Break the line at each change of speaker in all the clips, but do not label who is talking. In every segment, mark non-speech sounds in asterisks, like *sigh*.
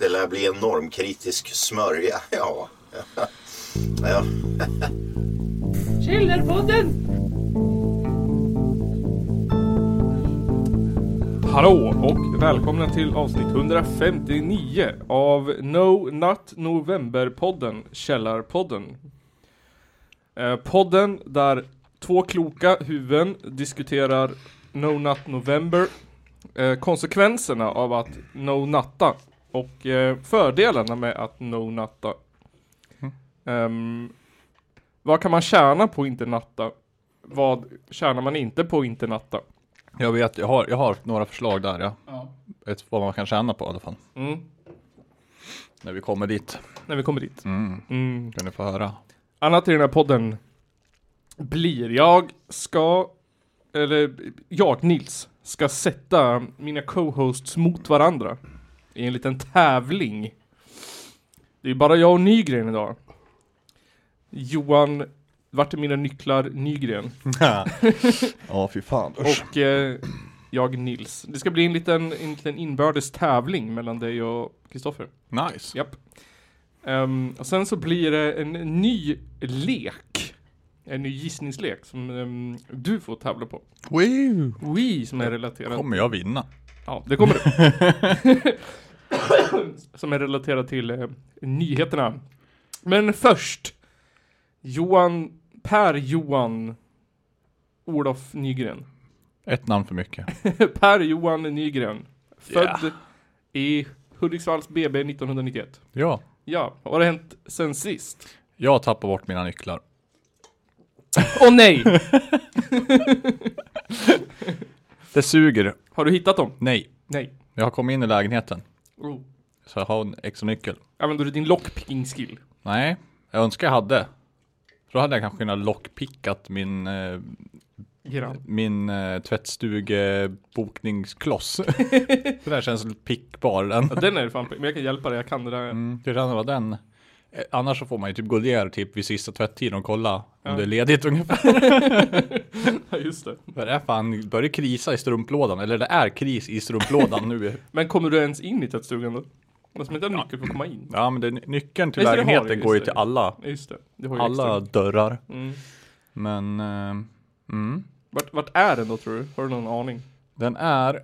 Det lär bli en normkritisk smörja. *laughs* Ja. ja.
Källarpodden!
Hallå och välkomna till avsnitt 159 av No Not November-podden, Källarpodden. Eh, podden där två kloka huvuden diskuterar No Not November, eh, konsekvenserna av att no natta och eh, fördelarna med att no natta. Ehm, vad kan man tjäna på att inte natta? Vad tjänar man inte på att inte natta?
Jag vet, jag har, jag har några förslag där ja. Ett, vad man kan tjäna på i alla fall.
Mm.
När vi kommer dit.
När vi kommer dit.
Mm.
Mm.
Kan ni få höra.
Annat i den här podden blir jag ska, eller jag, Nils, ska sätta mina co-hosts mot varandra i en liten tävling. Det är bara jag och Nygren idag. Johan, vart är mina nycklar Nygren?
*laughs* Ja fy fan.
Och eh, jag Nils. Det ska bli en liten, en liten inbördes tävling mellan dig och Kristoffer.
Nice.
Japp. Ehm, och sen så blir det en ny lek. En ny gissningslek som ehm, du får tävla på.
Woo.
Wii som är relaterad.
Kommer jag vinna?
Ja, det kommer *laughs* du. som är relaterad till eh, nyheterna. Men först. Johan, Per Johan Olof Nygren. *laughs*
Ett namn för mycket.
per Johan Nygren. Född
Yeah.
i Hudiksvalls BB 1991.
Ja.
Ja, vad har hänt sen sist?
Jag tappar bort mina nycklar.
Åh nej!
Det suger.
Har du hittat dem?
Nej.
Nej.
Jag har kommit in i lägenheten.
Oh.
Så jag har en extra nyckel.
Använder du din lockpicking skill?
Nej. Jag önskar jag hade. För då hade jag kanske kunnat lockpickat min, eh,
Grann.
min eh, tvättstugebokningskloss.
*laughs*
För där känns pickbar den.
Ja, den är fan men jag kan hjälpa dig, jag kan det där.
Mm, det kan vara den. Eh, Annars så får man ju typ gå ner typ vid sista tvättiden och kolla om det är ledigt ungefär. *laughs*
Ja, just det.
För det är fan, börjar krisa i strumplådan, eller det är kris i
*laughs*
strumplådan nu.
Men kommer du ens in i tvättstugan då? Man ska inte ha nyckel för att komma in.
Ja men det, nyckeln till
Visst, det har vi,
lägenheten
just
går ju
det.
till alla,
Ja, just det. Du har ju
alla
Extra.
dörrar.
Mm.
Men, eh, mm.
Vart, vart är den då tror du? Har du någon aning?
Den är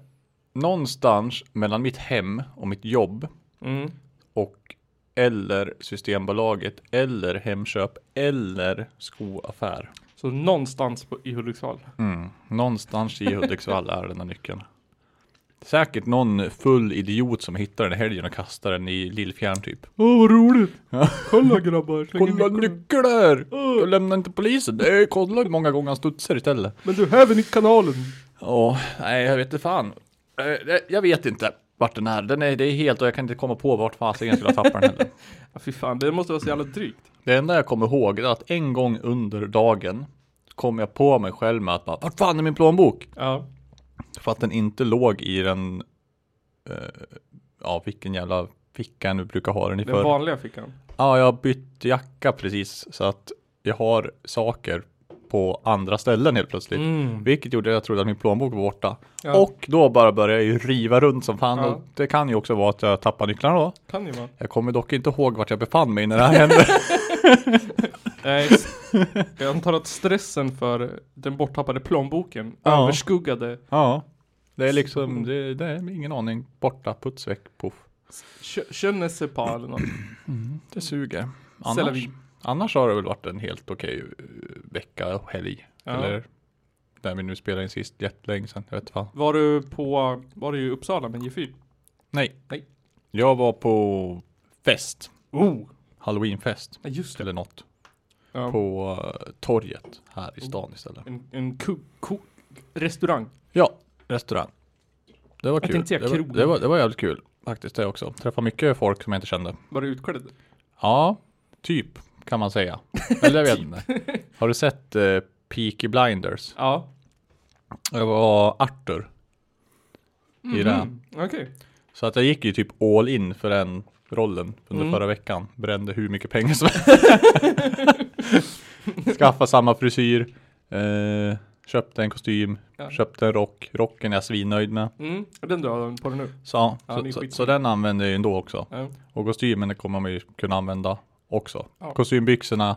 någonstans mellan mitt hem och mitt jobb
Mm.
och eller Systembolaget eller Hemköp eller skoaffär.
Så någonstans på, i Hudiksvall.
Mm. Någonstans i Hudiksvall är den här nyckeln. Säkert någon full idiot som hittar den i helgen och kastar den i Lillfjärn typ.
Åh vad roligt! Kolla grabbar!
Kolla nycklar! Jag lämnar inte polisen. Nej, kolla hur många gånger han studsar istället.
Men du, häver nytt kanalen!
Ja, nej jag vet inte fan. Eh, eh, Jag vet inte vart den är. Den är, det är helt och jag kan inte komma på vart fasen jag skulle ha tappat den heller.
Ja, fy fan, det måste vara så jävla drygt.
Det enda jag kommer ihåg är att en gång under dagen kom jag på mig själv med att bara, vart fan är min plånbok?
Ja.
För att den inte låg i den, eh, ja vilken jävla ficka jag nu brukar ha den i
Den
för. Ja,
vanliga fickan.
jag bytte jacka precis så att jag har saker på andra ställen helt plötsligt.
Mm.
Vilket gjorde att jag trodde att min plånbok var borta.
Ja.
Och då bara började jag ju riva runt som fan.
Ja.
Och det kan ju också vara att jag tappade nycklarna då.
Kan ju vara.
Jag kommer dock inte ihåg vart jag befann mig när det här hände.
Nej, s-
*laughs*
jag antar att stressen för den borttappade plånboken
Ja.
överskuggade
ja. Det är liksom, det, det är ingen aning. Borta, puts väck, poff.
kö- känner sig på eller något.
Det suger.
C'est la
Annars,
vie.
annars har det väl varit en helt okej eh, vecka och helg.
Ja.
Eller där vi nu spelade in sist, jättelänge sedan. Jag vet fan.
Var du på, var du i Uppsala med J4?
Nej.
Nej.
Jag var på fest.
Oh!
Halloweenfest.
Ja, just det.
Eller något.
Ja. Mm.
På eh, torget här i stan istället.
En, en ku, ku, restaurang.
Ja, restaurang. Det var
Jag
kul.
tänkte säga
det, var,
krog.
det, var, det var jävligt kul faktiskt det också. Träffa mycket folk som jag inte kände.
Var du utklädd?
Ja, typ kan man säga. Eller jag
*laughs*
vet inte.
Typ.
Har du sett eh, Peaky Blinders?
Ja.
Jag var Arthur. I det.
Mm, Okej.
Så att jag gick ju typ all in för den rollen under
Mm.
förra veckan. Brände hur
*laughs*
mycket pengar som Skaffa samma frisyr. Eh, Köpte en kostym,
Ja.
köpte en rock. Rocken är jag svinnöjd med.
Mm, den drar han på det nu.
Så, ja,
Ja, det är
så, så,
skitsnyggt.
så den använder jag ju ändå också.
Ja.
Och kostymen kommer man ju kunna använda också.
Ja.
Kostymbyxorna,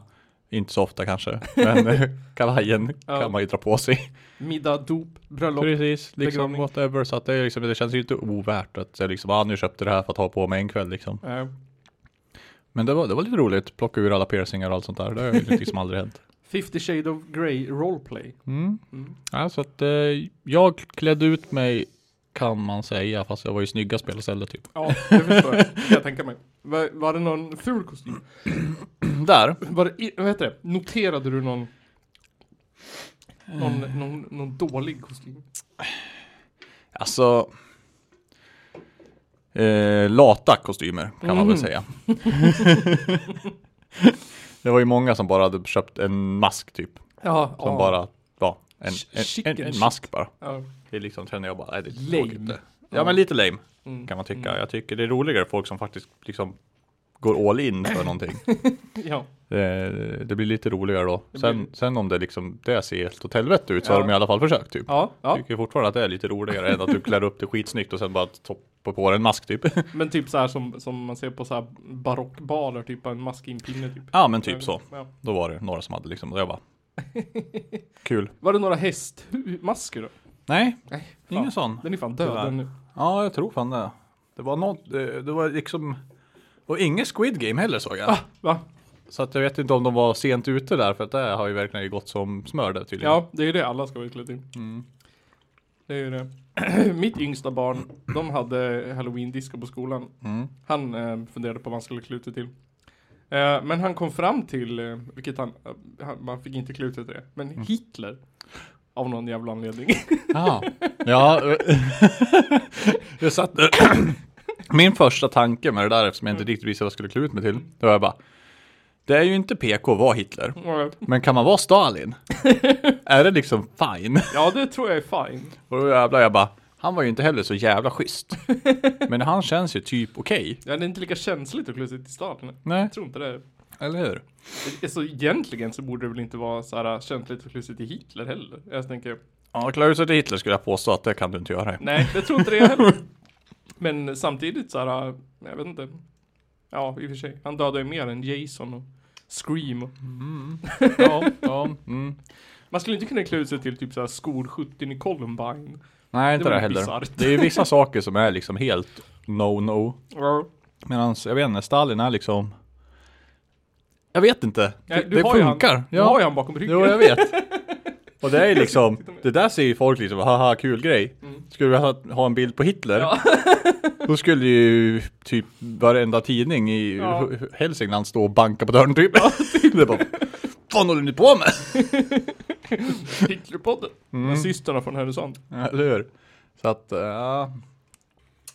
inte så ofta kanske.
*laughs*
Men eh, kavajen
Ja.
kan man ju dra på sig.
Middag, dop, bröllop.
Precis, liksom
begravning.
whatever. Så att det, är liksom, det känns ju inte ovärt att jag liksom, ah, nu köpte det här för att ha på mig en kväll liksom.
Ja.
Men det var, det var lite roligt, plocka ur alla piercingar och allt sånt där. Det
*laughs*
har ju liksom aldrig hänt.
50 Shade of Grey Roleplay.
Mm.
Mm.
Ja, så att eh, jag klädde ut mig kan man säga, fast jag var ju snyggast på hela stället typ. *clears throat* *laughs*
Ja, det förstår jag. Kan jag tänka mig. Var, var det någon ful kostym?
Där,
Var det, i- vad heter det? Noterade du någon, någon, någon, någon dålig kostym?
alltså. Eh, lata kostymer kan man väl
Mhm.
säga. *laughs* det var ju många som bara hade köpt en mask typ.
Ja,
Som bara var en,
Ch-
en, en,
chicken
en
shit.
mask bara.
Ja.
Det är liksom känner jag bara, nej det är
Lame.
tråkigt det.
Ja.
Ja men lite lame
Mm.
kan man tycka.
Mm.
Jag tycker det är roligare folk som faktiskt liksom går all in för någonting.
*clears throat* ja.
Eh, det blir lite roligare då.
Det
Sen,
blir-
sen om det liksom, det ser helt åt helvete ut så
Ja.
har de i alla fall försökt typ.
Ja, ja.
Tycker fortfarande att det är lite roligare än att du klär upp det skitsnyggt och sen bara toppar på dig en mask typ. *laughs*
Men typ så här som, som man ser på så här barockbaler, typ en maskinpinne typ.
ja men typ så.
Ja.
Då var det några som hade liksom, och
*laughs*
jag bara Kul.
Var det några hästmasker då?
Nej,
Nej, fan.
ingen sån.
Den är fan död
Tyvärr.
den nu.
Ja, jag tror fan det. Det var något, eh, det var liksom Och inget Squid Game heller såg jag.
Ah, va?
Så att jag vet inte om de var sent ute där för att det har ju verkligen gått som smör där tydligen.
Ja, det är ju det alla ska vara utklädda till.
Mm.
Det är ju det. *clears throat* Mitt yngsta barn, de hade halloween-disco på skolan.
Mm.
Han eh, funderade på vad han skulle klä ut det till. Eh, men han kom fram till, eh, vilket han, eh, han, man fick inte klä ut det till det, men Hitler. Av någon jävla anledning.
Ja, ja. eh, jag satt Min första tanke med det där eftersom jag inte riktigt visste vad jag skulle klä ut mig till. Då var jag bara. Det är ju inte PK att vara Hitler. Men kan man vara Stalin? är det liksom fine?
ja, det tror jag är fine.
Och då jävlar jag bara. Han var ju inte heller så jävla schysst. Men han känns ju typ okej.
Ja, det är inte lika känsligt att klä sig till staden.
Nej,
Jag tror inte det. Eh,
eller hur?
Så egentligen så borde det väl inte vara så här eh, känsligt att klä sig till Hitler heller. Jag tänker,
Ja, klä ut sig till Hitler skulle jag påstå att det kan du inte göra.
nej, jag tror inte det heller. Men samtidigt så här, eh, jag vet inte. Ja, i och för sig. Han dödar ju mer än Jason och Scream. och-
Mm. Ja, ja. Mm.
Man skulle inte kunna klä ut sig till typ så här skolskjutningen i Columbine.
Nej, inte
Det
det,
var ju
heller.
bisarrt.
Det är ju vissa saker som är liksom helt no-no.
Ja.
Medan, jag vet inte, Stalin är liksom Jag vet inte, det,
Nej, du
det
har ju
funkar.
Han, Du har ju han bakom ryggen. *laughs*
jo, jag vet. Och det är ju liksom, det där ser ju folk liksom, haha kul grej. Skulle vi ha, ha en bild på Hitler,
Mm. Ja.
*laughs* då skulle ju typ varenda tidning i
Ja.
Hälsingland stå och banka på dörren typ. *laughs* det är bara, fan håller ni på med?
Hitlerpodden. Nazisterna från Härnösand.
Ja, Eller hur? Så att, eh, ja.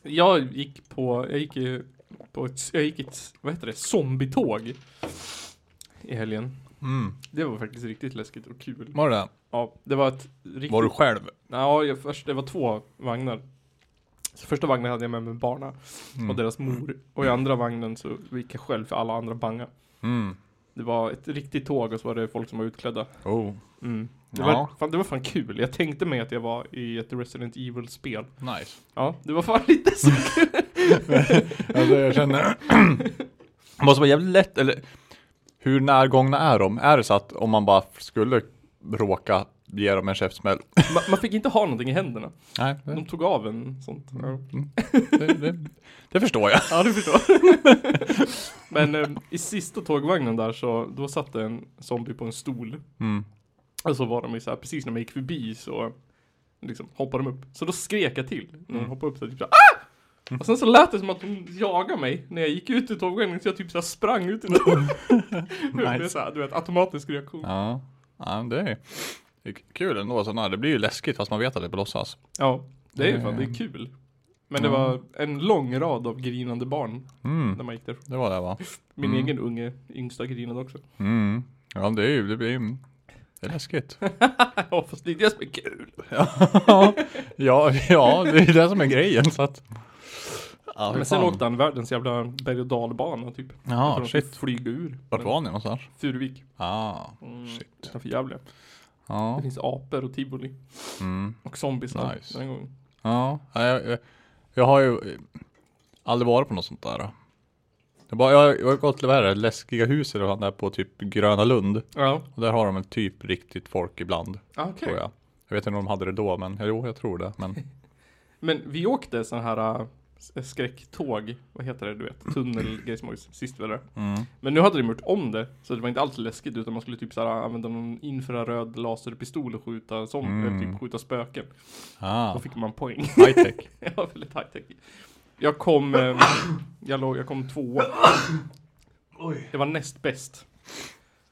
Jag gick på, jag gick i- på ett, jag gick ett, vad heter det, zombietåg. I helgen.
Mm.
Det var faktiskt riktigt läskigt och kul.
Var det det?
Ja, det var ett riktigt...
Var du själv?
Ja, jag, först, det var två vagnar. Så första vagnen hade jag med mig barna
Mm.
och deras mor. Och i andra vagnen så gick jag själv för alla andra banga.
Mm.
Det var ett riktigt tåg och så var det folk som var utklädda.
Oh,
Mm. Det,
Ja.
var, fan, det var fan kul. Jag tänkte mig att jag var i ett Resident Evil-spel.
nice.
Ja, det var fan *laughs* lite så.
*laughs* Alltså jag känner, *clears throat* det måste vara jävligt lätt, eller hur närgångna är de? Är det så att om man bara skulle råka ge dem en käftsmäll?
Ma- man fick inte ha någonting i händerna.
Nej, Mm.
De tog av en sånt. Ja.
det, det, det förstår jag.
Ja, du förstår. *laughs* Men eh, i sista tågvagnen där så, då satt det en zombie på en stol.
Mm.
Och så var de ju så här, precis när man gick förbi så liksom hoppade de upp. Så då skrek jag till när
Mm.
de hoppade upp så här, typ så här, ah! Och sen så lät det som att de jagade mig när jag gick ut ur tågvagnen så jag typ så här sprang ut
*laughs*
ur den. *laughs* Det är så här, du vet, automatisk reaktion.
Ja, ja men det är det är kul ändå sådana, det blir ju läskigt fast man vet att det är på låtsas.
Ja, det är ju
Mm.
fan, det är kul. Men det
Ja.
var en lång rad av grinande barn när
Mm,
man gick där.
det var det va?
Min
Mm.
egen unge, yngsta grinade också. *laughs*
Mm. Ja, det är ju, det blir ju, det är läskigt.
Ja, fast det är det som är kul.
ja, ja, *laughs* det är det som är grejen så att. Ja, fy
Men sen
fan.
åkte han världens jävla berg och dalbana typ. Jag tror
Ja,
de
shit.
fick Flyga ur.
Vart
Men-
var ni någonstans?
Furuvik.
Ah,
Mm.
shit.
Utanför Gävle. Det
Ja.
finns apor och tivoli.
Mm.
Och zombies där,
Nice.
den gången.
Ja. Nej, Jag, jag, jag har ju eh, aldrig varit på något sånt där. Jag, bara, jag, jag har gått till det här läskiga huset och han där på typ Gröna Lund.
Ja,
Och där har de väl typ riktigt folk ibland.
ah, okej.
Tror jag. Jag vet inte om de hade det då, men jo, jag tror det. Men
Men vi åkte sån här äh, s- skräcktåg, vad heter det du vet,
*clears throat*
tunnelgrej som var sist vi var där.
mm.
Men nu hade de gjort om det, så det var inte alls läskigt utan man skulle typ såhär använda någon infraröd laserpistol och skjuta som,
Mm.
eller typ skjuta spöken. Då
ah,
fick man poäng. *laughs*
high tech.
jag var väldigt high tech. Jag kom, eh, jag, låg, jag kom tvåa. Det var näst bäst.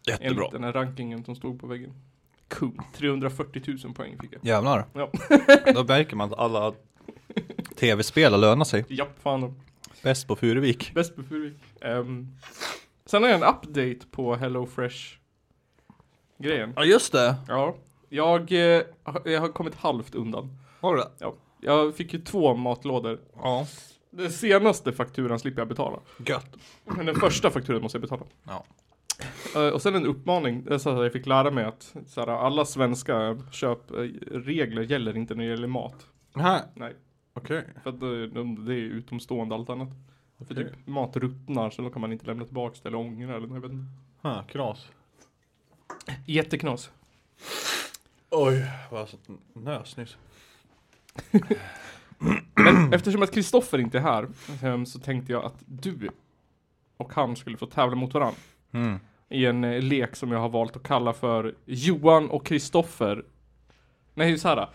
Jättebra.
Enligt den här rankingen som stod på väggen. Kung. 340 000 poäng fick jag.
Jävlar.
Ja.
*laughs* Då märker man att alla tv-spel lönar sig.
Japp, fan.
Bäst på Furuvik.
Bäst på Furuvik. Ehm, sen har jag en update på HelloFresh-grejen.
Ja, just det.
Ja, jag, eh, har- jag har kommit halvt undan.
Har du det?
Ja. Jag fick ju två matlådor.
Ja.
Den senaste fakturan slipper jag betala.
Gött.
Men den första fakturan måste jag betala.
Ja.
Eh, och sen en uppmaning, det är så att jag fick lära mig att så här, alla svenska köpregler gäller inte när det gäller mat.
Nej.
Nej,
Okej.
för att eh, de- det är utomstående allt annat. För
Okej.
typ mat ruttnar så då kan man inte lämna tillbaka det eller ångra eller jag vet inte.
Ha, kras.
Jätteknas.
Oj, vad jag nös nyss.
Men eftersom att Kristoffer inte är här ehm, så tänkte jag att du och han skulle få tävla mot varandra
Mm.
i en eh, lek som jag har valt att kalla för Johan och Kristoffer. Nej, så här.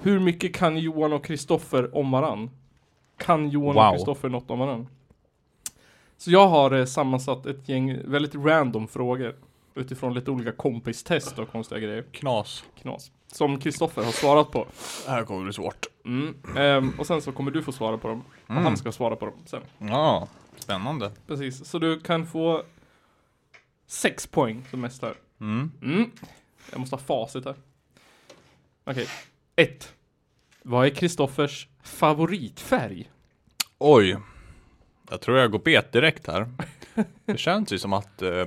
Hur mycket kan Johan och Kristoffer om varann? Kan Johan
Wow.
och Kristoffer något om varann? Så jag har eh, sammansatt ett gäng väldigt random frågor utifrån lite olika kompistest och konstiga grejer.
Knas.
Knas. Som Kristoffer har svarat på.
Det här kommer bli svårt.
Mm. Ehm, och sen så kommer du få svara på dem. Och han ska svara på dem sen.
Mm. Ja, spännande.
Precis, så du kan få sex poäng som mest här.
Mm.
Mm. Jag måste ha facit här. Okej. Ett. Vad är Kristoffers favoritfärg?
Oj. Jag tror jag går bet direkt *laughs* här. Det känns ju som att eh,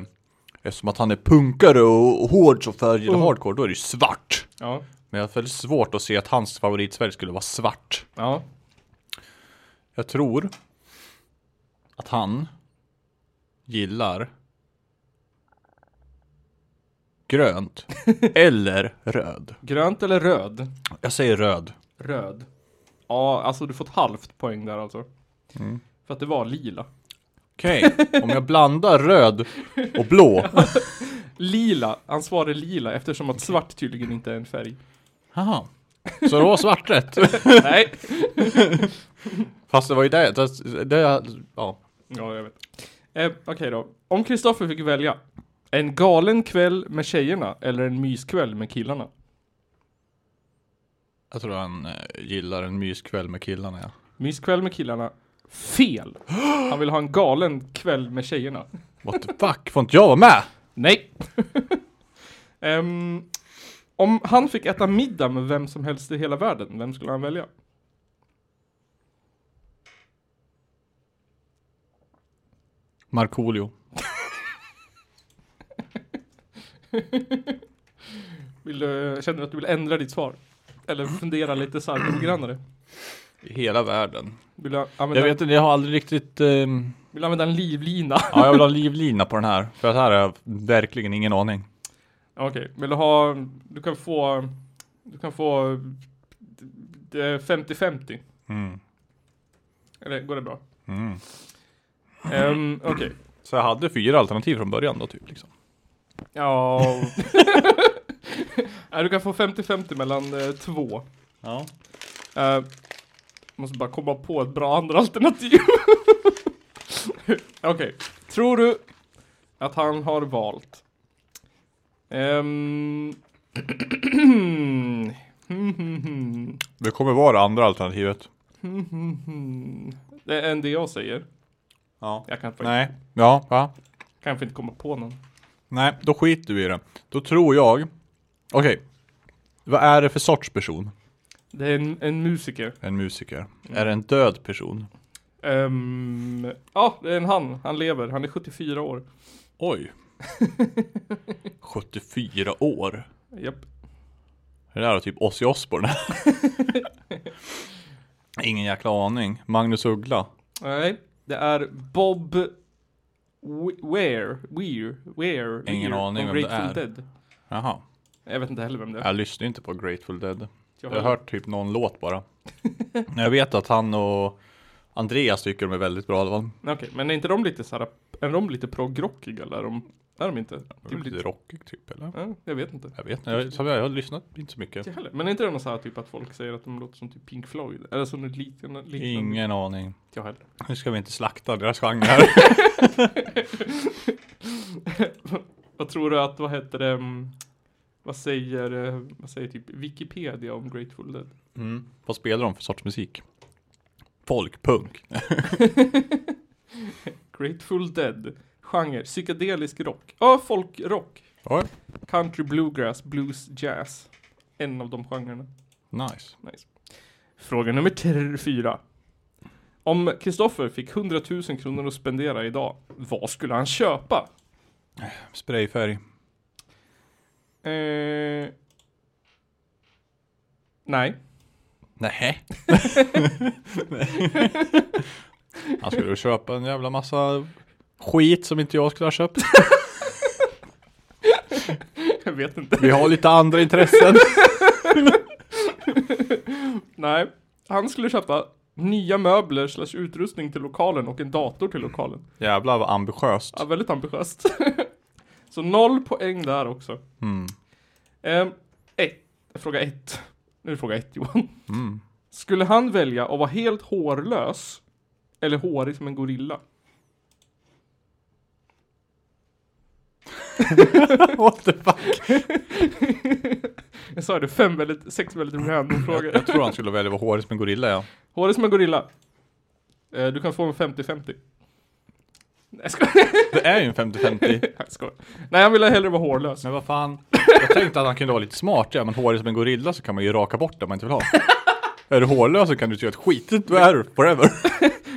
eftersom att han är punkare och hård så färgen
Mm.
hardcore, då är det ju svart.
Ja.
Men jag har väldigt svårt att se att hans favoritfärg skulle vara svart.
Ja.
Jag tror att han gillar *laughs* grönt eller röd.
Grönt eller röd?
Jag säger röd.
Röd. Ja, alltså du får ett halvt poäng där alltså. För att det var lila.
Okej, om jag blandar röd och blå.
Lila, han svarade lila eftersom att svart tydligen inte är en *laughs* färg.
Jaha. Så det var svart rätt?
Nej.
Fast det var ju det, det, det ja.
Ja, jag vet. Eh, Okej då. Om Kristoffer fick välja. En galen kväll med tjejerna eller en myskväll med killarna?
Jag tror han eh, gillar en myskväll med killarna ja.
Myskväll med killarna. Fel! *gasps* Han vill ha en galen kväll med tjejerna.
What the fuck, får inte jag vara med?
Nej! *laughs* Ehm, om han fick äta middag med vem som helst i hela världen, vem skulle han välja?
Markoolio.
Vill du, känner du att du vill ändra ditt svar? Eller fundera lite så här noggrannare?
I hela världen.
Vill du
Jag
använda,
vet inte, jag har aldrig riktigt... ehm,
vill du använda en livlina?
ja, jag vill ha livlina på den här. För att här har jag verkligen ingen aning.
Okej, vill du ha, du kan få, du kan få d- d- 50-50.
Mm.
Eller går det bra?
Mm.
Ehm, Okej.
Så jag hade fyra alternativ från början då typ liksom.
Ja. Nej, du kan få 50-50 mellan eh, två.
Ja.
Eh, måste bara komma på ett bra andra alternativ. *laughs* Okej. Tror du att han har valt? Ehm, *clears throat* Hmm,
Det kommer vara det andra alternativet.
*laughs* det är en det jag säger.
Ja.
Jag kan, faktiskt,
Nej. Ja, va?
kanske inte komma på någon.
Nej, då skiter vi i det. Då tror jag... Okej. Vad är det för sorts person?
Det är en, en musiker.
En musiker. Är det en död person?
Ehm, ja, det är en han. Han lever. Han är 74 år.
*laughs* Oj. 74 år.
Japp.
Det där är typ Ozzy Osbourne. *laughs* Ingen jäkla aning. Magnus Uggla.
Nej, det är Bob Wh- Weir. Weir. Weir.
Ingen
Weir
aning
av
vem det
Grateful
är.
Dead.
Jaha.
Jag vet inte heller vem det är.
Jag lyssnar inte på Grateful Dead. Jag har
har-
hört typ någon låt *laughs* bara. Men Jag vet att han och Andreas tycker de är väldigt bra i alla fall.
Okej, men är inte de lite såhär, är de lite proggrockiga eller är de, är de inte?
Det är
Typ
lite
lite,
rockig typ eller?
ja, jag vet inte.
Jag vet inte, jag, som jag, jag har lyssnat inte så mycket.
Inte heller. Men är inte det någon såhär typ att folk säger att de låter som typ Pink Floyd? Eller som en liten, liten
Ingen aning.
Inte jag heller.
Nu ska vi inte slakta deras genre *laughs* här.
Vad tror du att, vad heter det, mm, vad säger, eh, vad säger typ Wikipedia om Grateful Dead?
Mm. Vad spelar de för sorts musik? Folkpunk.
Grateful Dead, genre, psykedelisk rock, ja folkrock,
Oj,
country bluegrass, blues, jazz. En av de genrerna.
nice.
Fråga nummer ter- fyra. Om Kristoffer fick 100 000 kronor att spendera idag, vad skulle han köpa?
Sprayfärg.
Eh... Nej. *laughs*
*laughs* Nej. Han skulle ju köpa en jävla massa skit som inte jag skulle ha köpt.
Jag vet inte.
Vi har lite andra intressen.
*laughs* Nej. Han skulle köpa nya möbler slash utrustning till lokalen och en dator till lokalen.
Jävlar vad ambitiöst.
Ja, väldigt ambitiöst. *laughs* Så noll poäng där också.
Mm.
Ehm, ett. Fråga ett. Nu är det fråga ett Johan.
Mm.
Skulle han välja att vara helt hårlös eller hårig som en gorilla? *laughs*
What the fuck?
Jag sa det, fem väldigt, sex väldigt random frågor.
Jag tror han skulle välja att vara hårig som en gorilla ja.
Hårig som en gorilla. Eh, Du kan få en 50-50. Nej, jag skojar. *laughs*
Det är ju en 50-50.
Jag skojar. Nej, han ville hellre vara hårlös.
Men vad fan. Jag tänkte att han kunde vara lite smart ja, men hårig som en gorilla så kan man ju raka bort det man inte vill ha. Är du hårlös så kan du inte göra ett skit. Då är du forever.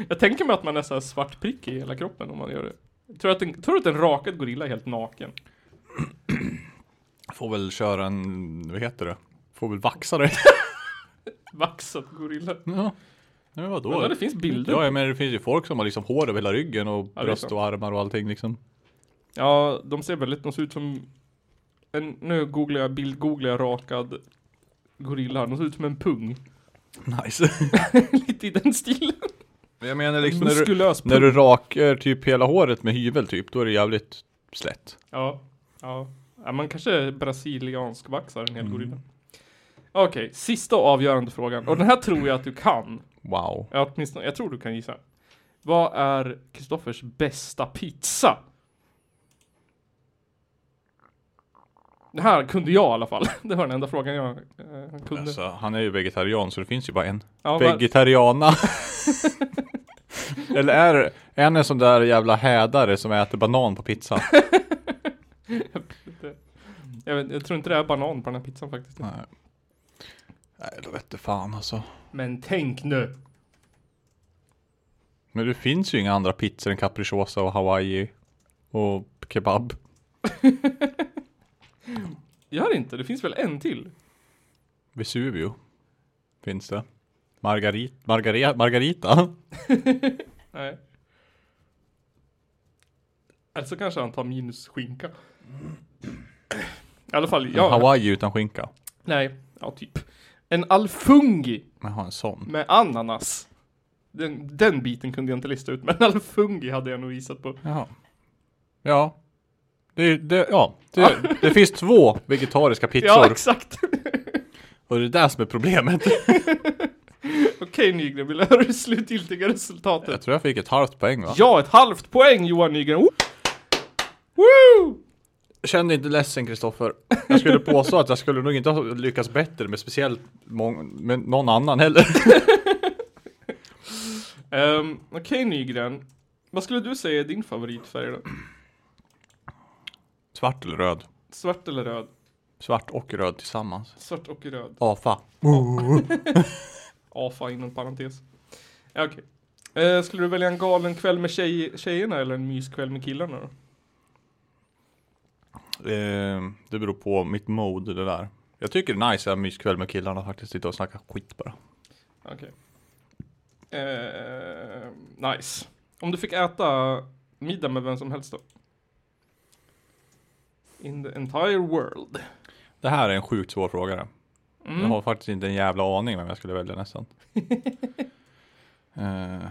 Jag tänker mig att man är så här svart prick i hela kroppen om man gör det. Tror du att en, tror du att en rakad gorilla är helt naken?
Får väl köra en, vad heter det? Får väl vaxa dig.
Vaxad gorilla.
Ja. Nej men vadå?
Men det finns bilder.
Ja, men det finns ju folk som har liksom hår över hela ryggen och
det är
bröst
sant.
och armar och allting liksom.
Ja, de ser väldigt, de ser ut som en, nu googlar jag, bildgooglar jag rakad gorilla, de ser ut som en pung. *laughs*
Nice.
Lite i den stilen.
Men jag menar liksom när du,
Muskulös pung.
när du rakar typ hela håret med hyvel typ, då är det jävligt slätt.
Ja, ja. ja man kanske brasiliansk vaxar
Mm.
en hel gorilla. Okej, sista och avgörande frågan. Och den här tror jag att du kan.
Wow.
Ja, åtminstone, jag tror du kan gissa. Vad är Kristoffers bästa pizza? Det här kunde jag i alla fall. *laughs* Det var den enda frågan jag eh, kunde.
Alltså, han är ju vegetarian så det finns ju bara en.
ja, vad-
Vegetariana. *laughs* Eller är det- är en en sån där jävla hädare som äter banan
*laughs*
på pizza?
jag, vet, jag tror inte det är banan på den här pizzan faktiskt.
Nej. Nej, då vet du fan alltså.
Men tänk nu.
Men det finns ju inga andra pizzor än capricciosa och hawaii och kebab.
Gör inte, det finns väl en till?
Vesuvio finns det. Margarit, margareta, margarita.
Nej. Eller så kanske han tar minus skinka. I alla fall, *laughs* ja.
Hawaii utan skinka.
Nej, ja typ. En alfungi
Jaha, en sån.
med ananas. Den, den biten kunde jag inte lista ut, men *laughs* alfungi hade jag nog gissat på.
Jaha. Ja. Det, det, ja. Det, det finns två vegetariska
*laughs* Ja,
pizzor.
exakt.
Och det är det som är problemet.
Okej Nygren, vill du höra det slutgiltiga
Jag
resultatet?
tror jag fick ett halvt poäng va?
Ja, ett halvt poäng Johan Nygren. Wo- Woo!
Känn dig inte ledsen Kristoffer. Jag skulle påstå att jag skulle nog inte ha lyckats bättre med speciellt mång- med någon annan heller.
Ehm, Okej Nygren, vad skulle du säga är din favoritfärg då?
Svart eller röd?
Svart eller röd?
Svart och röd tillsammans.
Svart och röd.
AFA.
AFA inom parentes. Ja, Okej. Eh, skulle du välja en galen kväll med tjej, tjejerna eller en myskväll med killarna då?
Ehm, Eh, det beror på mitt mode det där. Jag tycker det är nice att ha en myskväll med killarna faktiskt. Sitta och snacka skit bara.
Okej. Eh, nice. Om du fick äta middag med vem som helst då? In the entire world.
Det här är en sjukt svår fråga det.
Mm.
Jag har faktiskt inte en jävla aning vem jag skulle välja nästan. eh,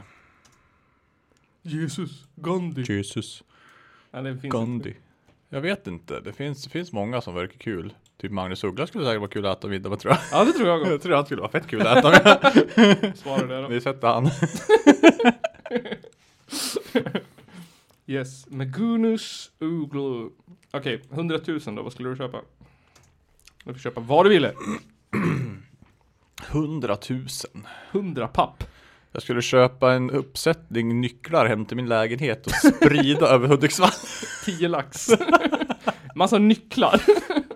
Jesus. Gandhi.
Jesus.
Nej, det finns inte.
Gandhi. Jag vet inte. Det finns, det finns många som verkar kul. Typ Magnus Uggla skulle säkert vara kul att äta middag med tror jag.
Ja, det tror jag
*laughs* Jag
gott.
tror han skulle vara fett kul att äta med.
Svarar det då.
Vi sätter han.
Yes. Magunus Uglu. Okej, 100 000 då. Vad skulle du köpa? Du får köpa vad du ville.
100 000.
100 papp.
Jag skulle köpa en uppsättning nycklar hem till min lägenhet och sprida över Hudiksvall.
10 lax. *laughs* Massa nycklar.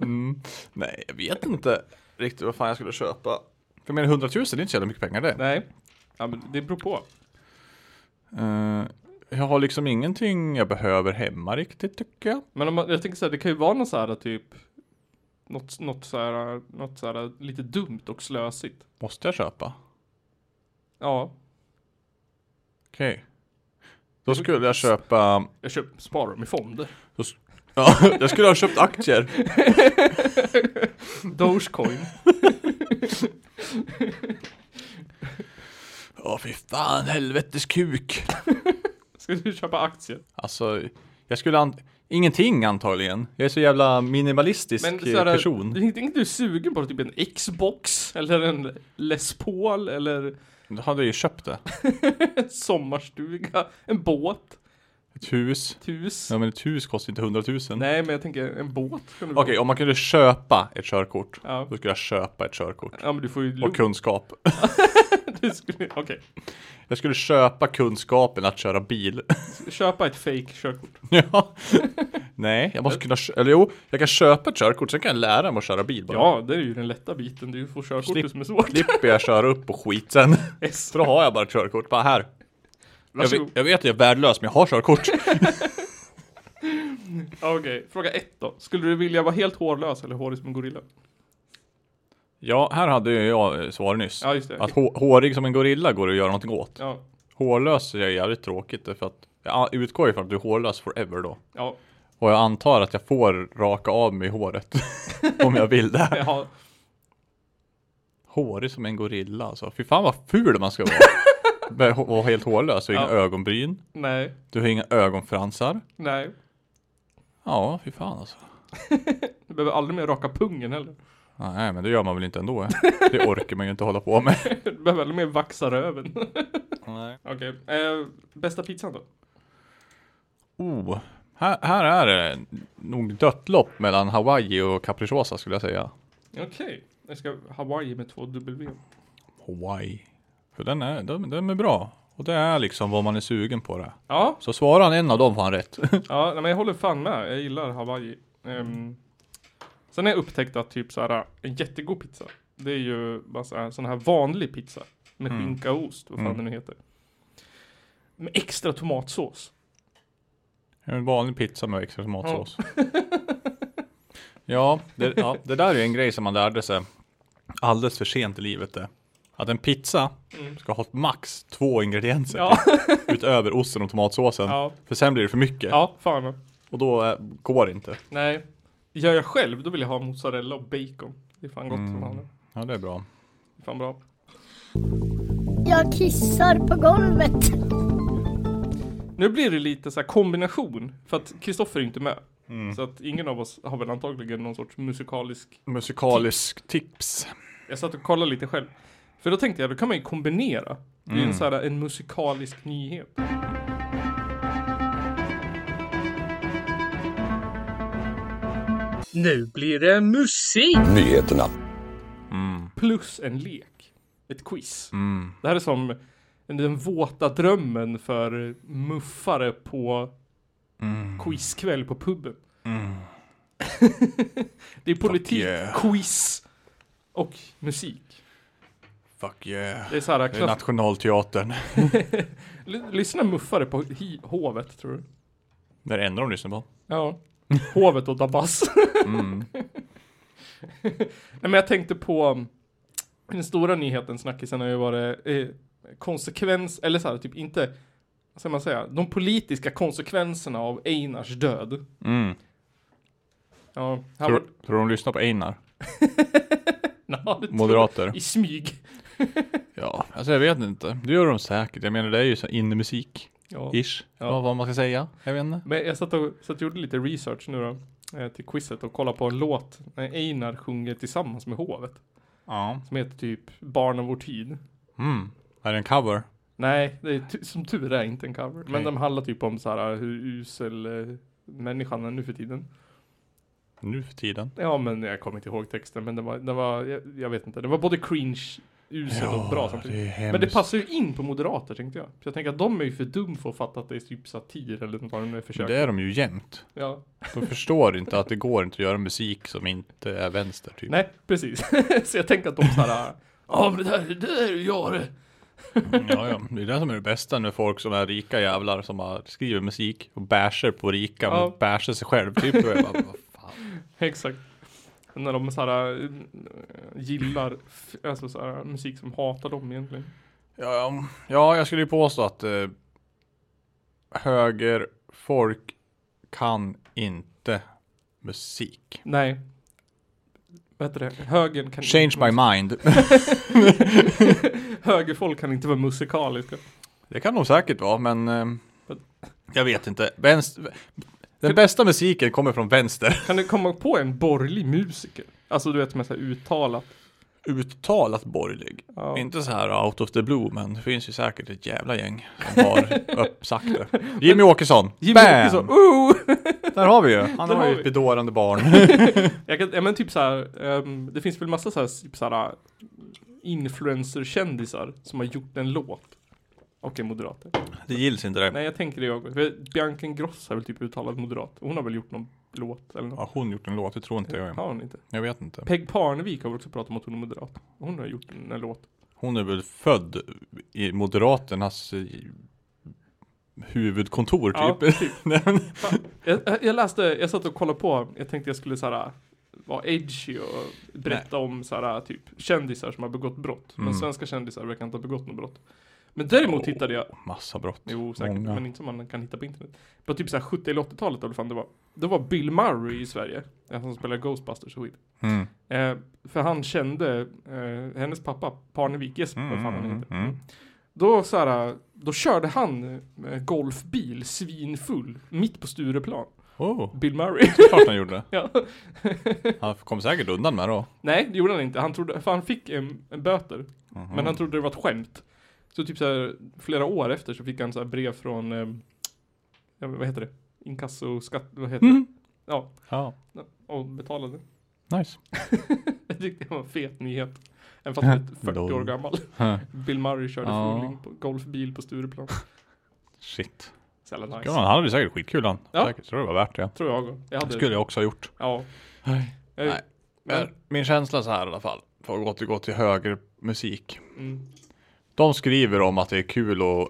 Mm. Nej, jag vet inte riktigt vad fan jag skulle köpa. För mer än 100 000 det är inte så jävla mycket pengar det.
Nej. Ja, men det beror på.
Eh, jag har liksom ingenting jag behöver hemma riktigt tycker jag.
Men om man, jag tänker så här, det kan ju vara något så här typ något, något, så här, något så här lite dumt och slösigt.
Måste jag köpa?
Ja,
Okej. Då skulle jag köpa...
jag köper, sparar dem i fonder.
Ja, jag skulle ha köpt aktier.
Dogecoin.
Ja, fy fan helvetes kuk.
Ska du köpa aktier?
Alltså, jag skulle an... Ingenting antagligen. Jag är så jävla minimalistisk
Men så
eh,
här,
person.
Det är inte inget du är sugen på, typ en Xbox eller en Les Paul eller
Då hade jag ju köpt det.
en sommarstuga, en båt,
Ett hus.
ett hus.
Ja men ett hus kostar inte 100 000. Okej,
Nej, men jag tänker en båt. kan du få.
om man kunde köpa ett körkort.
Ja.
Då skulle jag köpa ett körkort.
ja, men du får ju
Och
lugnt.
kunskap.
Okej,
Jag skulle köpa kunskapen att köra bil. *laughs*
köpa ett fake körkort.
ja. Nej, jag måste kunna kö- Eller jo, jag kan köpa ett körkort. Sen kan jag lära mig att köra bil bara.
Ja, det är ju den lätta biten. Det är ju att få körkortet
Slipp-
som är svårt.
Slipper jag köra upp och skit sen.
S.
Så då har jag bara ett körkort. Bara här. Jag vet,
Varsågod.
jag vet att jag är värdelös men jag har körkort.
Okej, fråga ett då. Skulle du vilja vara helt hårlös eller hårig som en gorilla?
ja, här hade ju jag eh, svar nyss.
Ja, just det.
Att hå- hårig som en gorilla går det att göra någonting åt.
Ja,
Hårlös är jävligt tråkigt därför att jag utgår ifrån att du är hårlös forever då.
ja,
Och jag antar att jag får raka av mig håret *laughs* om jag vill det.
ja.
Hårig som en gorilla alltså. Fy fan vad ful man ska *laughs* vara. Med hå- Vara helt hårlös. Du har inga
Ja.
ögonbryn.
Nej,
Du har inga ögonfransar.
nej.
Ja, fy fan alltså.
Du behöver aldrig mer raka pungen heller.
Nej, men det gör man väl inte ändå. eh? Det orkar man ju inte hålla på med.
Du behöver aldrig mer vaxa röven.
*laughs* Nej.
Okej, eh, bästa pizzan då?
Oh, här, här är det nog dött lopp mellan Hawaii och Capricciosa skulle jag säga.
Okej, jag ska Hawaii med två W.
Hawaii. För den är, den, den är bra. Och det är liksom vad man är sugen på det.
Ja,
Så svarar han en av dem får han rätt. *laughs*
ja, nej, men jag håller fan med. Jag gillar Hawaii. Um, sen har jag upptäckt att typ så här en jättegod pizza. Det är ju bara så här, sån här vanlig pizza. Med
Mm.
skinka och ost, vad fan
Mm.
det nu heter. Med extra tomatsås.
En vanlig pizza med extra tomatsås.
*laughs*
Ja det, ja, det där är ju en grej som man lärde sig alldeles för sent i livet det. Att en pizza
Mm.
ska ha max två ingredienser
Ja,
till, utöver osten och tomatsåsen.
ja,
För sen blir det för
*laughs*
mycket
ja, fan.
och då eh, går det inte.
Nej. Gör jag själv, då vill jag ha mozzarella och bacon. Det är fan gott som
Mm.
fan. Det
Ja det är bra.
är fan bra.
Jag kissar på golvet.
Nu blir det lite så här kombination, för att Kristoffer är inte med.
Mm.
Så att ingen av oss har väl antagligen någon sorts musikalisk...
Musikalisk tips.
Jag satt och kollade lite själv. För då tänkte jag, då kan man ju kombinera. Det är ju en, så här, en musikalisk nyhet.
Nu blir det musik!
Nyheterna.
Mm,
Plus en lek. Ett quiz.
mm.
Det här är som den våta drömmen för muffare på quizkväll på puben. *laughs* det är politik,
yeah.
quiz och musik.
Fuck yeah.
Det är så här
Det är
klass...
nationalteatern.
L- lyssnar muffare på hi- hovet, tror du?
Det är det enda de lyssnar på. Mm.
Ja. Hovet och Dabas. Nej men jag tänkte på um, den stora nyheten, snackisen har ju varit eh, konsekvens, eller så här, typ inte, vad ska man säga, de politiska konsekvenserna av Einars död.
Mm.
Ja, han
Tror, tror de lyssnar på Einar?
*laughs* Ja, det tror-
Moderater?
I smyg.
Ja, alltså jag vet inte. Det gör de säkert. Jag menar det är ju så innemusik.
Ja.
Ish.
Ja.
Vad- Vad man ska säga. Jag vet inte.
Men jag satt och, satt och gjorde lite research nu då, eh, till quizet och kollade på en låt när Einar sjunger tillsammans med hovet.
Ja.
Som heter typ Barn av vår tid.
Mm. Är det en cover?
Nej, det är ty- som tur är inte en cover. Men
Nej.
de handlar typ om så här hur usel eh, människan är nu för tiden.
Nu för tiden.
Ja, men jag kommer inte ihåg texten, men det var, det var jag, jag vet inte, det var både cringe, uselt och bra samtidigt.
det är
Men det
hemskt.
passar ju in på moderater tänkte jag. Så jag tänker att de är ju för dum för att fatta att det är typ satir eller något vad de nu försöker.
Det är de ju jämt.
Ja.
De förstår inte att det går inte att göra musik som inte är vänster typ.
Nej, precis. *laughs* så jag tänker att de såhär, *laughs* ja men det där, det där är ju jag det.
Ja, ja. Det är det som är det bästa när folk som är rika jävlar som har, skriver musik och bärsar på rika men
Ja.
bärsar sig själv typ. Då är jag bara, vad fan.
Exakt. När de såhär eh, gillar f- alltså såhär, musik som hatar dem egentligen.
Ja, ja. ja, jag skulle ju påstå att eh, högerfolk kan inte musik.
Nej. Vad heter det? Högern kan
Change
*laughs*
my mind.
Högerfolk kan inte vara musikaliska.
Det kan nog säkert vara, men eh, jag vet inte. Vänster... Den bästa musiken kommer från vänster.
Kan du komma på en borgerlig musiker? Alltså du vet som är så här uttalat.
Uttalat borgerlig.
Ja.
Inte så här out of the blue, men det finns ju säkert ett jävla gäng som *laughs* har upp, sagt det. Jimmy Åkesson!
Jimmy
Bam!
Åkesson, oh!
Där har vi ju! Han har
har
ju
vi.
ett bedårande barn. *laughs*
Jag kan, ja men typ såhär, ehm, det finns väl massa såhär, typ såhär influencer-kändisar som har gjort en låt. Okej, moderater.
Det gills inte det.
Nej, jag tänker det jag också. För Bianca Ingrosso är väl typ uttalad moderat. Hon har väl gjort någon låt eller något?
Ja, hon gjort en låt, det tror inte jag.
Har hon inte?
Jag vet inte.
Peg Parnevik har väl också pratat om att hon är moderat. Hon har gjort en, en låt.
Hon är väl född i Moderaternas eh, huvudkontor
Ja,
typ. *laughs* Nej, men-
Jag, jag- jag läste, jag satt och kollade på, jag tänkte jag skulle såhär vara edgy och berätta om såhär typ kändisar som har begått brott. Men
Mm.
svenska kändisar verkar inte ha begått något brott. Men däremot hittade jag,
Massa brott.
jo säkert,
Många.
men inte som man kan hitta på internet. På typ såhär 70 eller 80-talet eller vad fan det var. Då var Bill Murray i Sverige, han som spelade Ghostbusters och skit.
Mm.
Eh, för han kände eh, hennes pappa, Parnevik Jesper, vad fan han
Mm,
heter.
mm, mm.
Då så här, då körde han eh, golfbil svinfull mitt på Stureplan.
Oh,
Bill Murray.
det är klart han *laughs* gjorde.
ja.
Han kom säkert undan med det då.
Nej, det gjorde han inte. Han trodde, för han fick en, en böter. Men
Mhm.
han trodde det var ett skämt. Så typ så här, flera år efter så fick han så här brev från, eh, ja, men vad heter det? Inkasso, skatt, vad heter
Mm.
det? Ja,
Ja,
och betalade. *laughs*
nice.
Jag tyckte det var en fet nyhet. Även fast han är 40 år
Lol.
gammal.
Huh.
Bill Murray körde
Ja.
full in på golfbil på Stureplan.
Shit.
Så jävla nice.
Ja, han hade ju säkert skitkul han.
Ja.
Säkert, tror det var värt det.
Tror jag. Jag
Det
hade,
skulle jag också ha gjort.
ja. Jag-
Nej.
Men,
Men min känsla så här i alla fall, för att återgå till högermusik.
mm,
De skriver om att det är kul att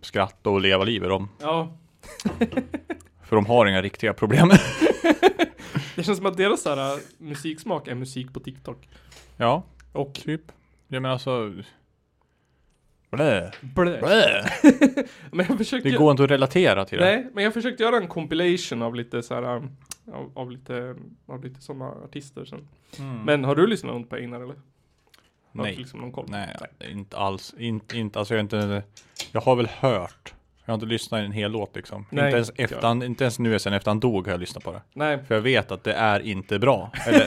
skratta och leva livet om.
ja.
För de har inga riktiga problem. *laughs*
Det känns som att deras så här, äh, musiksmak är musik på TikTok.
ja,
Och
typ. Jag menar alltså... Blä,
blä.
blä.
Men jag försökte...
Det går inte att relatera till det.
Nej, men jag försökte göra en compilation av lite så här, um, av, av lite, av lite sådana artister sen. Men har du lyssnat något på Einar eller? Har du
Mm. Nej.
Liksom någon koll?
Nej, inte alls. Inte, inte, alltså jag, är inte, jag har väl hört. Jag har inte lyssnat i en hel låt liksom.
Nej,
inte, ens
inte jag.
efter han, inte ens nu sen efter han dog har jag lyssnat på det.
Nej.
För jag vet att det är inte bra.
*laughs*
Eller,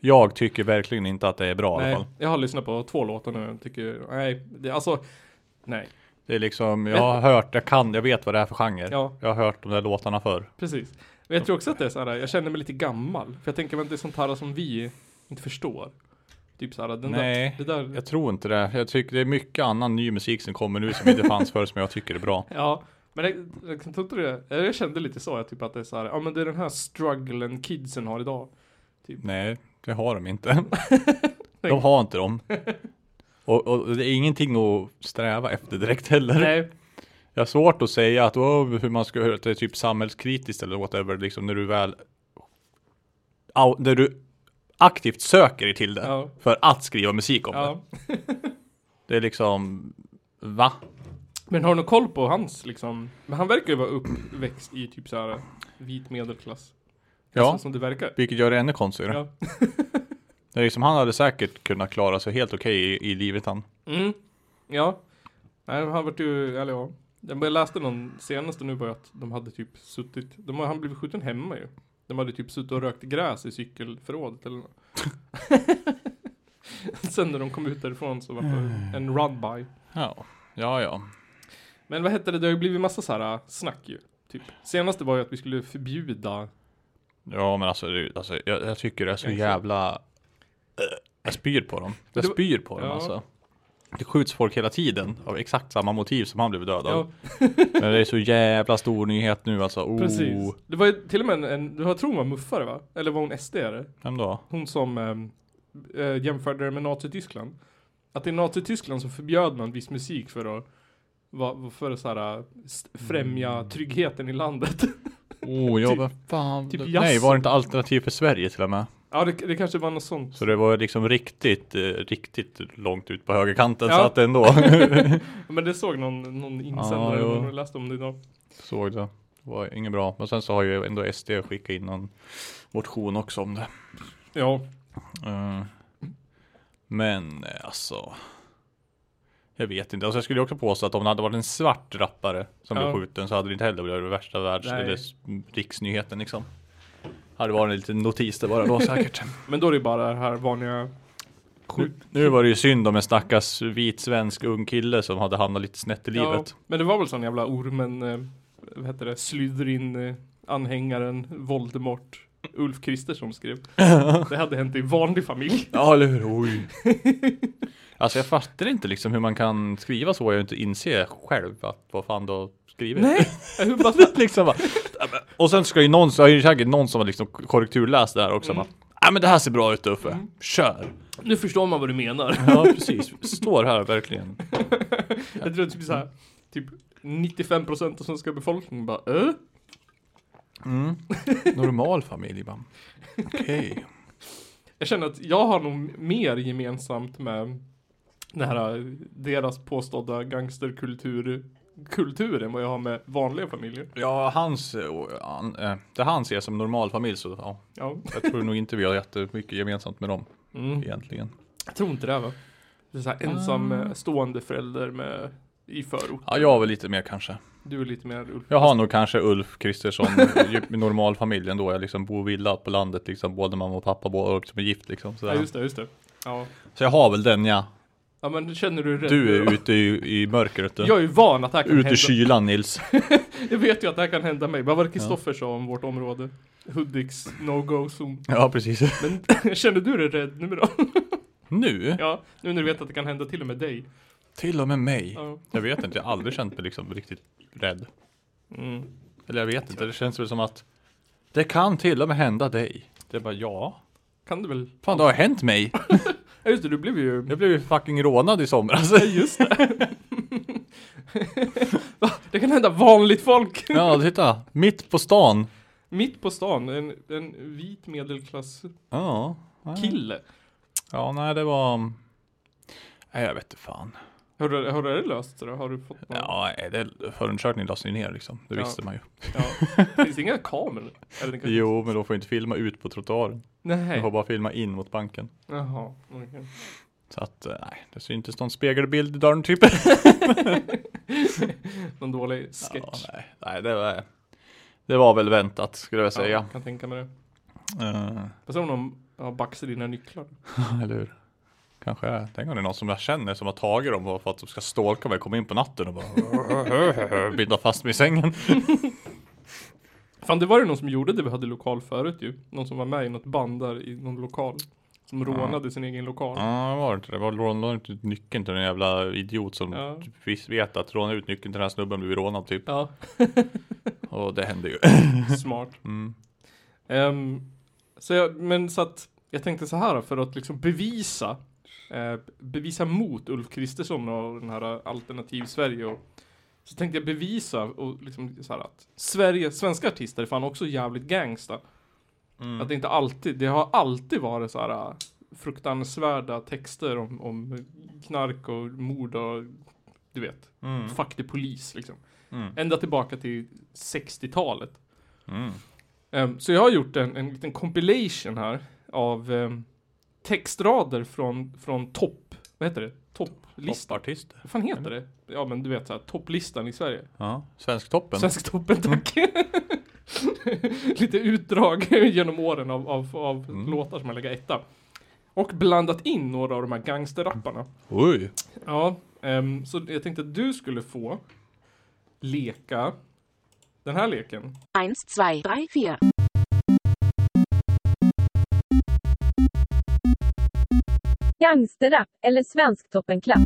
jag tycker verkligen inte att det är bra i alla
Nej,
fall.
jag har lyssnat på två låtar nu och tycker, nej, det, alltså, nej,
Det är liksom, jag har hört, jag kan, jag vet vad det är för genre.
Ja.
Jag har hört de där låtarna förr.
precis. Men jag tror också att det är så här, jag känner mig lite gammal, för jag tänker att det är sånt här som vi inte förstår. Typ så här, den
Nej,
där, det där,
Jag tror inte det. Jag tycker det är mycket annan ny musik som kommer nu som inte fanns förr som jag tycker är bra.
Ja, men jag, jag, kan- tror inte det, eller jag kände lite så, jag typ att det är så här, ja men det är den här strugglen kidsen har
*laughs*
idag.
Nej, det har
*laughs*
de inte. de har inte dem. Och, och det är ingenting att sträva efter direkt heller.
Nej,
Jag har svårt att säga att åh, hur man ska höra att det är typ samhällskritiskt eller whatever, liksom när du väl au, när du aktivt söker till det
Ja.
för att skriva musik om det.
Ja.
Det är liksom, va?
Men har du någon koll på hans liksom? Men han verkar ju vara uppväxt i typ så här vit medelklass.
Ja,
Alltså, som det verkar.
vilket gör det ännu konstigare.
Ja.
*laughs* Det är liksom, han hade säkert kunnat klara sig helt okej i, i livet han.
Mm. Ja. Nej, men han vart ju, eller ja. Jag bara läste någon senaste nu var ju att de hade typ suttit, de har, han blev skjuten hemma ju. De hade typ suttit och rökt gräs i cykelförrådet eller något. *laughs* Sen när de kom ut därifrån så var det en run-by.
Ja, ja, ja.
Men vad hette det, det har ju blivit massa så här äh, snack ju. Typ. Senaste var ju att vi skulle förbjuda
Ja, men alltså, det, alltså jag, jag tycker det är så
Kanske.
jävla... Äh, Jag spyr på dem. Jag
Det var-
spyr på dem
Ja.
alltså. Det skjuts folk hela tiden av exakt samma motiv som han blev dödad av.
Ja,
Men det är så jävla stor nyhet nu alltså. Oh.
precis. Det var ju till och med en, en jag tror hon var muffare va? Eller var hon SD-are?
Vem då?
Hon som ehm, eh, jämförde det med Nazityskland. Att i Nazityskland så förbjöd man viss musik för att va, för att så här, eh, st- främja
Mm.
tryggheten i landet. *laughs*
Oh, ja,
Typ-
vem fan.
typ
Nej,
jazz.
var det inte alternativ för Sverige till och med?
ja, det, det kanske var något sånt.
Så det var liksom riktigt, eh, riktigt långt ut på högerkanten
Ja.
så
*laughs*
att ändå.
Men det såg någon, någon
Ja,
insändare,
jo.
någon läste om det idag.
Såg det. Det var inget bra. Men sen så har ju ändå SD skickat in någon motion också om det.
Ja,
Eh, Men eh, alltså. Jag vet inte. Alltså, jag skulle ju också påstå att om det hade varit en svart rappare som
Ja.
blev skjuten så hade det inte heller blivit det värsta världs
Nej.
eller s- riksnyheten liksom. Hade varit en liten notis det bara då *laughs* säkert.
men då är det bara det här vanliga
nu, nu var det ju synd om en stackars vit svensk ung kille som hade hamnat lite snett i livet.
Ja, men det var väl sån jävla ormen, eh, vad heter det, Slytherin eh, anhängaren Voldemort Ulf Kristersson skrev. det hade hänt i vanlig familj.
Ja, eller hur? Oj. *laughs* Alltså jag fattar inte liksom hur man kan skriva så jag inte inser själv att vad fan du har skrivit.
Nej, hur bara
*laughs* liksom bara, "Ja, men-" och sen ska ju någon, så har ju säkert någon som har liksom korrekturläst det här också bara, Nej men det här ser bra ut Uffe,
Mm.
kör!
Nu förstår man vad du menar.
*laughs* Ja precis, står här verkligen.
Jag tror typ såhär, typ 95% av svenska befolkningen bara äh?
Mm. Normal familj bara. Okej.
Jag känner att jag har nog mer gemensamt med den här, eh, deras påstådda gangsterkultur kultur än vad jag har med vanliga familjer.
Ja, hans, eh, och, han, eh, det han ser som normal familj så ja,
Ja,
jag tror nog inte vi har jättemycket gemensamt med dem
mm.
egentligen.
jag tror inte det va? Det är såhär ensam eh, stående förälder med, i förort.
Ja, jag är väl lite mer kanske.
Du är lite mer Ulf.
Jag har nog kanske Ulf Kristersson, djup- normal familj ändå. Jag liksom bor i villa på landet liksom, både mamma och pappa bor och som är gift liksom.
Ja,
Sådär.
just det, just det. Ja.
Så jag har väl den ja.
ja, men känner du rädd?
Du är ute i, i mörkret du.
Jag är ju van att det här kan
Ut i
hända. *laughs*
kylan Nils.
Jag vet ju att det här kan hända mig. Vad var det Kristoffer sa om vårt område? Hudiks no-go-zon.
Ja precis.
Men *laughs* känner du dig rädd nu då? *laughs*
Nu?
Ja, nu när du vet att det kan hända till och med dig.
Till och med mig.
Ja.
Jag vet inte, jag har aldrig känt mig liksom riktigt rädd.
Mm.
Eller jag vet inte, det känns väl som att det kan till och med hända dig. Det är bara ja.
Kan du väl?
Fan det har hänt mig.
Ja just det, du blev ju...
Jag blev ju fucking rånad i
*laughs*
somras.
Just det. *laughs* Va? det kan hända vanligt folk.
*laughs* Ja titta, mitt på stan.
Mitt på stan, en, en vit medelklass
Ja.
kille.
Ja nej det var. Nej jag vet inte fan.
Har du, har du det löst sig då? Har du fått någon?
Ja, nej, det, förundersökningen lades ju ner liksom. Det
Ja.
visste man ju.
ja. Finns det inga kameror? Eller det kanske-
Jo, men de får inte filma ut på trottoaren. De
Nej.
får bara filma in mot banken.
Jaha, okej.
Så att, eh, nej, det syntes någon spegelbild i
*laughs*
dörren typ.
Någon dålig sketch.
Ja, nej, nej det, var, det var väl väntat skulle jag
Ja,
säga.
kan tänka mig det.
Eh,
Fast om de ja, baxar dina nycklar.
eller hur? Kanske, är- tänk om det är någon som jag känner som har tagit dem bara för att de ska stalka mig, komma in på natten och bara *laughs* binda fast mig i sängen.
Fan det var ju någon som gjorde det vi hade lokal förut ju. Någon som var med i något band där i någon lokal. Som rånade sin egen lokal.
Ja, det var det inte det? Var lånade inte ut nyckeln till den jävla idiot som
Ja.
visst vet att låna ut nyckeln till den här snubben blir rånad typ.
Ja.
Och det
*laughs*
hände ju.
Smart.
Mm.
Ehm, så jag, men så att jag tänkte så här för att liksom bevisa eh, bevisa mot Ulf Kristersson och den här alternativ Sverige och så tänkte jag bevisa och liksom så här att Sverige, svenska artister är fan också jävligt gangsta.
mm,
Att det inte alltid, det har alltid varit så här äh, fruktansvärda texter om, om knark och mord och du vet,
Mm.
fuck the polis liksom. Ända tillbaka till 60-talet.
mm.
Ehm, så jag har gjort en, en liten compilation här av ehm, textrader från, från topp, vad heter det? Topplistan?
Toppartister.
Vad fan heter det? Ja men du vet såhär, topplistan i Sverige.
Ja, Svensktoppen.
Svensktoppen, tack. *laughs* Lite utdrag *laughs* genom åren av, av, av låtar som har legat etta. Och blandat in några av de här gangsterrapparna.
Oj.
Ja, ehm, så jag tänkte att du skulle få leka den här leken.
1, 2, 3, 4.
Gangsterrap eller Svensktoppen-klapp.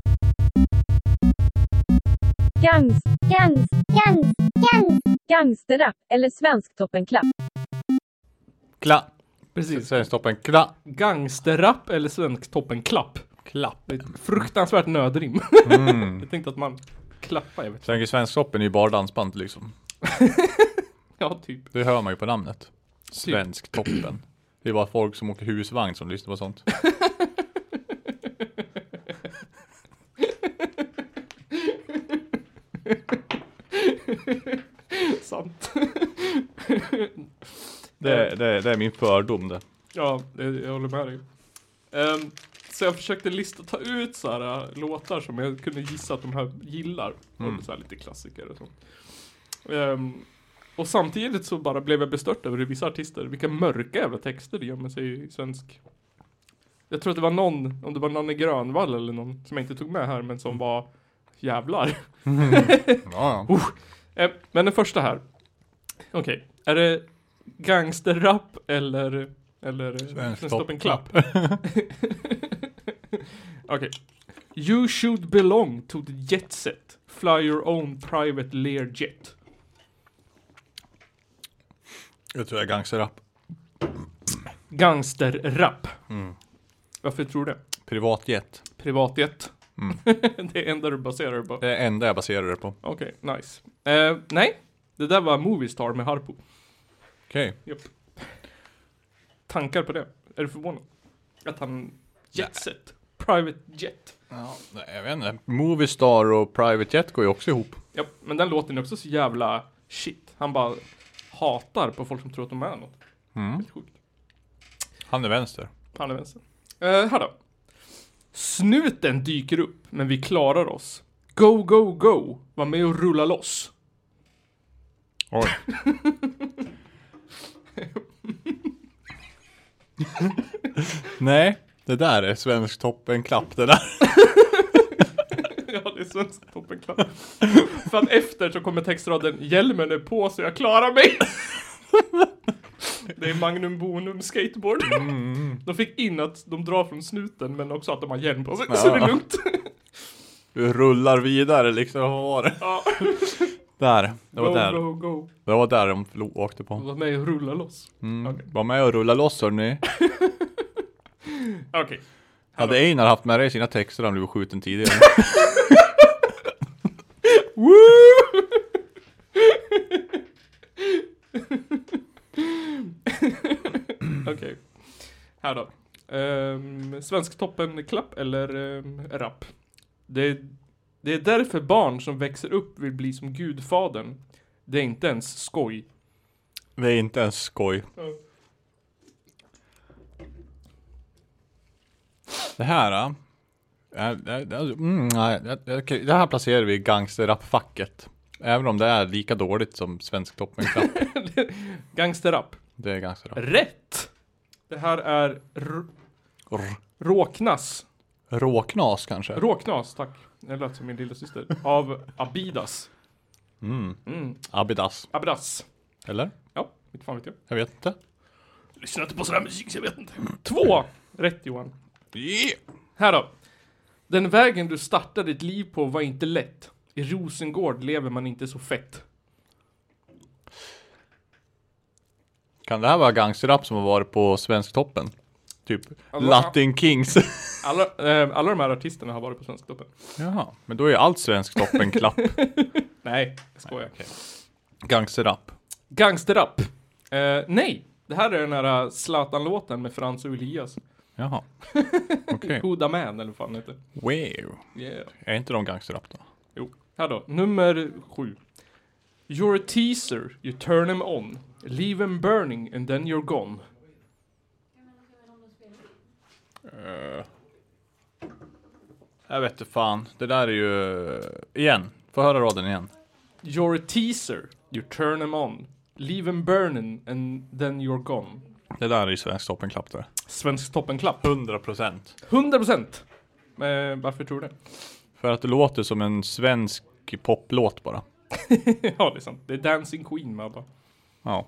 Gangs,
Gans, gans, gans.
gangsterrap eller Svensktoppen-klapp.
Kla.
Precis.
Svensktoppen. Kla.
Gangsterrap eller Svensktoppen-klapp.
Klapp.
Det är ett fruktansvärt nödrim. *laughs* jag tänkte att man klappar, jag vet inte.
Sen är Svensktoppen är ju bara dansband liksom.
Ja, typ.
Det hör man ju på namnet. Svensktoppen. Det är bara folk som åker husvagn som lyssnar på sånt.
Sant. *laughs*
Det, är- det, är- det är min fördom det.
Ja, det, jag håller med dig. Ehm, så jag försökte lista, ta ut så här äh, låtar som jag kunde gissa att de här gillar. Och så här lite klassiker och sånt. Ehm, och samtidigt så bara blev jag bestört över hur vissa artister, vilka mörka jävla texter det gömmer sig i svensk. Jag tror att det var någon, om det var Nanne Grönvall eller någon som jag inte tog med här, men som var jävlar.
Ja,
Eh, Men den första här. Okej, är det gangsterrap eller... Eller...
Svensk
Stopp en
topp-
klapp. *laughs* Okej. You should belong to the jet set. Fly your own private Learjet.
Jag tror jag är gangsterrap.
Gangsterrap.
Mm.
Varför tror du det?
Privatjet.
Privatjet.
Mm.
*laughs* det är enda du baserar det på.
Det är det enda jag baserar det på.
Okej, nice. Eh, nej, det där var Moviestar med Harpo.
Okej.
Tankar på det? Är du förvånad? Att han... Jet set. Private jet.
Ja, nej, jag vet inte. Moviestar och Private Jet går ju också ihop.
Ja, men den låten är också så jävla shit. Han bara hatar på folk som tror att de är något. Helt sjukt.
Han är vänster.
Han är vänster. Eh, här då. Snuten dyker upp, men vi klarar oss. Go, go, go. Var med och rulla loss.
Oj. Nej, det där är svensk toppenklapp det där. *laughs*
*laughs* ja, det är svensk toppenklapp. För att efter så kommer textraden Hjälmen är på så jag klarar mig. *laughs* det är Magnum Bonum skateboard.
Mm,
De fick in att de drar från snuten, men också att de har hjälm på sig. Så det är lugnt.
Du rullar vidare liksom, vad var det?
Ja.
*laughs* Där, det var
Go,
där.
go, go.
Det var där de lo- åkte på.
Var med och rulla loss.
Var med och rulla loss hörni.
Okej.
Hade Einar haft med dig i sina texter han blev skjuten tidigare.
Okej. Här då. Um, Svensktoppen klapp eller um, rap? Det är, det är därför barn som växer upp vill bli som gudfadern. Det är inte ens skoj.
Det är inte ens skoj. Det här, ja. Äh, äh, äh, mm, nej, äh, okej, Det här placerar vi i gangsterrapfacket. Även om det är lika dåligt som Svensktoppen klapp.
Gangsterrap.
Det är gangsterrapp.
Rätt! Det här är r-
Rr.
Råknas.
Råknas kanske?
Råknas, tack. Det lät som min lilla syster. Av Abidas.
Abidas.
Abras.
Eller?
Ja, inte fan vet jag.
Jag vet inte.
Lyssnar inte på sån här musik så jag vet inte. Mm. Två! Rätt Johan.
Yeah.
Här då. Den vägen du startade ditt liv på var inte lätt. I Rosengård lever man inte så fett.
Kan det här vara gangsterrap som har varit på Svensktoppen? Typ
Alla-
Latin Kings.
Alla, eh, alla de här artisterna har varit på Svensktoppen.
*laughs* Jaha, men då är allt Svensktoppen klapp.
Nej, jag skojar.
Gangsterrap.
Gangsterrap. Eh, nej, Det här är den här äh, Zlatan-låten med Frans och Elias.
*laughs* Jaha. Okej.
Huda Man eller vad fan heter.
Wow.
Yeah.
Är inte de gangsterrap då?
Jo. Här då. Nummer sju. You're a teaser, you turn him on. Leave him burning and then you're gone.
Jag vet inte fan. Det där är ju... Igen. Få höra raden igen.
You're a teaser, you turn him on. Leave him burning and then you're gone.
Det där är ju svensk toppenklapp det.
Svensk toppenklapp.
100%.
100%! Eh, varför tror du det? *laughs*
För att det låter som en svensk poplåt bara.
ja, det är sant. Det är Dancing Queen med ABBA.
Ja.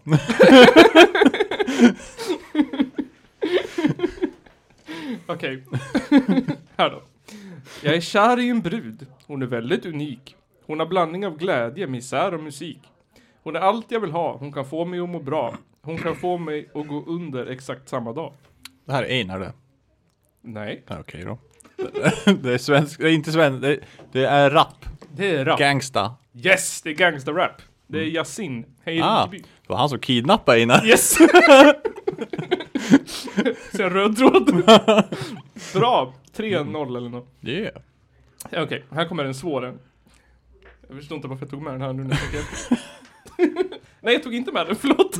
*laughs*
Okej. *laughs* Här då. Jag är kär i en brud. Hon är väldigt unik. Hon har blandning av glädje, misär och musik. Hon är allt jag vill ha. Hon kan få mig att må bra. Hon kan få mig att gå under exakt samma dag.
Det här är Einar det.
Nej,
Ja, Okej då. *laughs* Det är svensk, det är inte svensk, det är, det är rap.
det är rap.
Gangsta.
yes, det är gangsterrap. Det är Yasin. Hej
Ah,
Rinkeby.
det var han som kidnappade Einar.
Yes! *laughs* Ser jag röd tråd? Bra! 3-0 eller något.
*laughs* Yeah.
Ja, Okej, här kommer den svåra. Jag förstår inte varför jag tog med den här nu när jag tänker efter. Nej, jag tog inte med den, förlåt!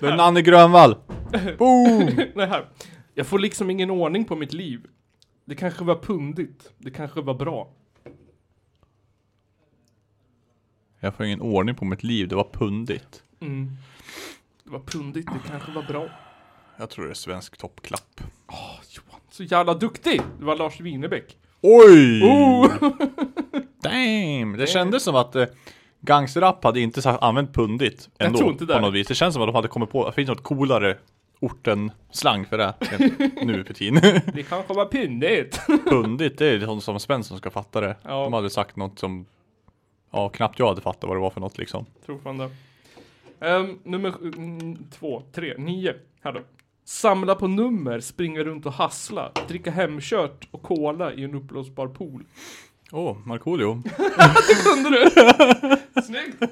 Det är Nanne Grönvall. *laughs* Boom!
*laughs* Nej, här. Jag får liksom ingen ordning på mitt liv. Det kanske var pundigt. Det kanske var bra.
Jag får ingen ordning på mitt liv, det var pundigt.
Mm. Det var pundigt, det kanske var bra.
Jag tror det är svensk toppklapp.
Åh, Johan, så jävla duktig! Det var Lars Winnerbäck.
Oj!
Oh! *laughs*
Damn! Det kändes som att eh, gangsterrap hade inte sagt, använt pundigt
Jag
ändå.
tror inte det.
På något vis. Det känns som att de hade kommit på, det finns något coolare orten-slang för det
*laughs*
än nu för tiden.
Det kanske var pundigt.
pundigt, det är sånt som Svensson ska fatta det.
Ja.
De hade sagt något som, ja knappt jag hade fattat vad det var för något liksom.
Tror fan det. Ehm, nummer sju- mm, två, tre, nio. Här då. Samla på nummer, springa runt och hassla, dricka hemkört och cola i en uppblåsbar pool.
Åh, oh, Markoolio.
Kunde du? Snyggt!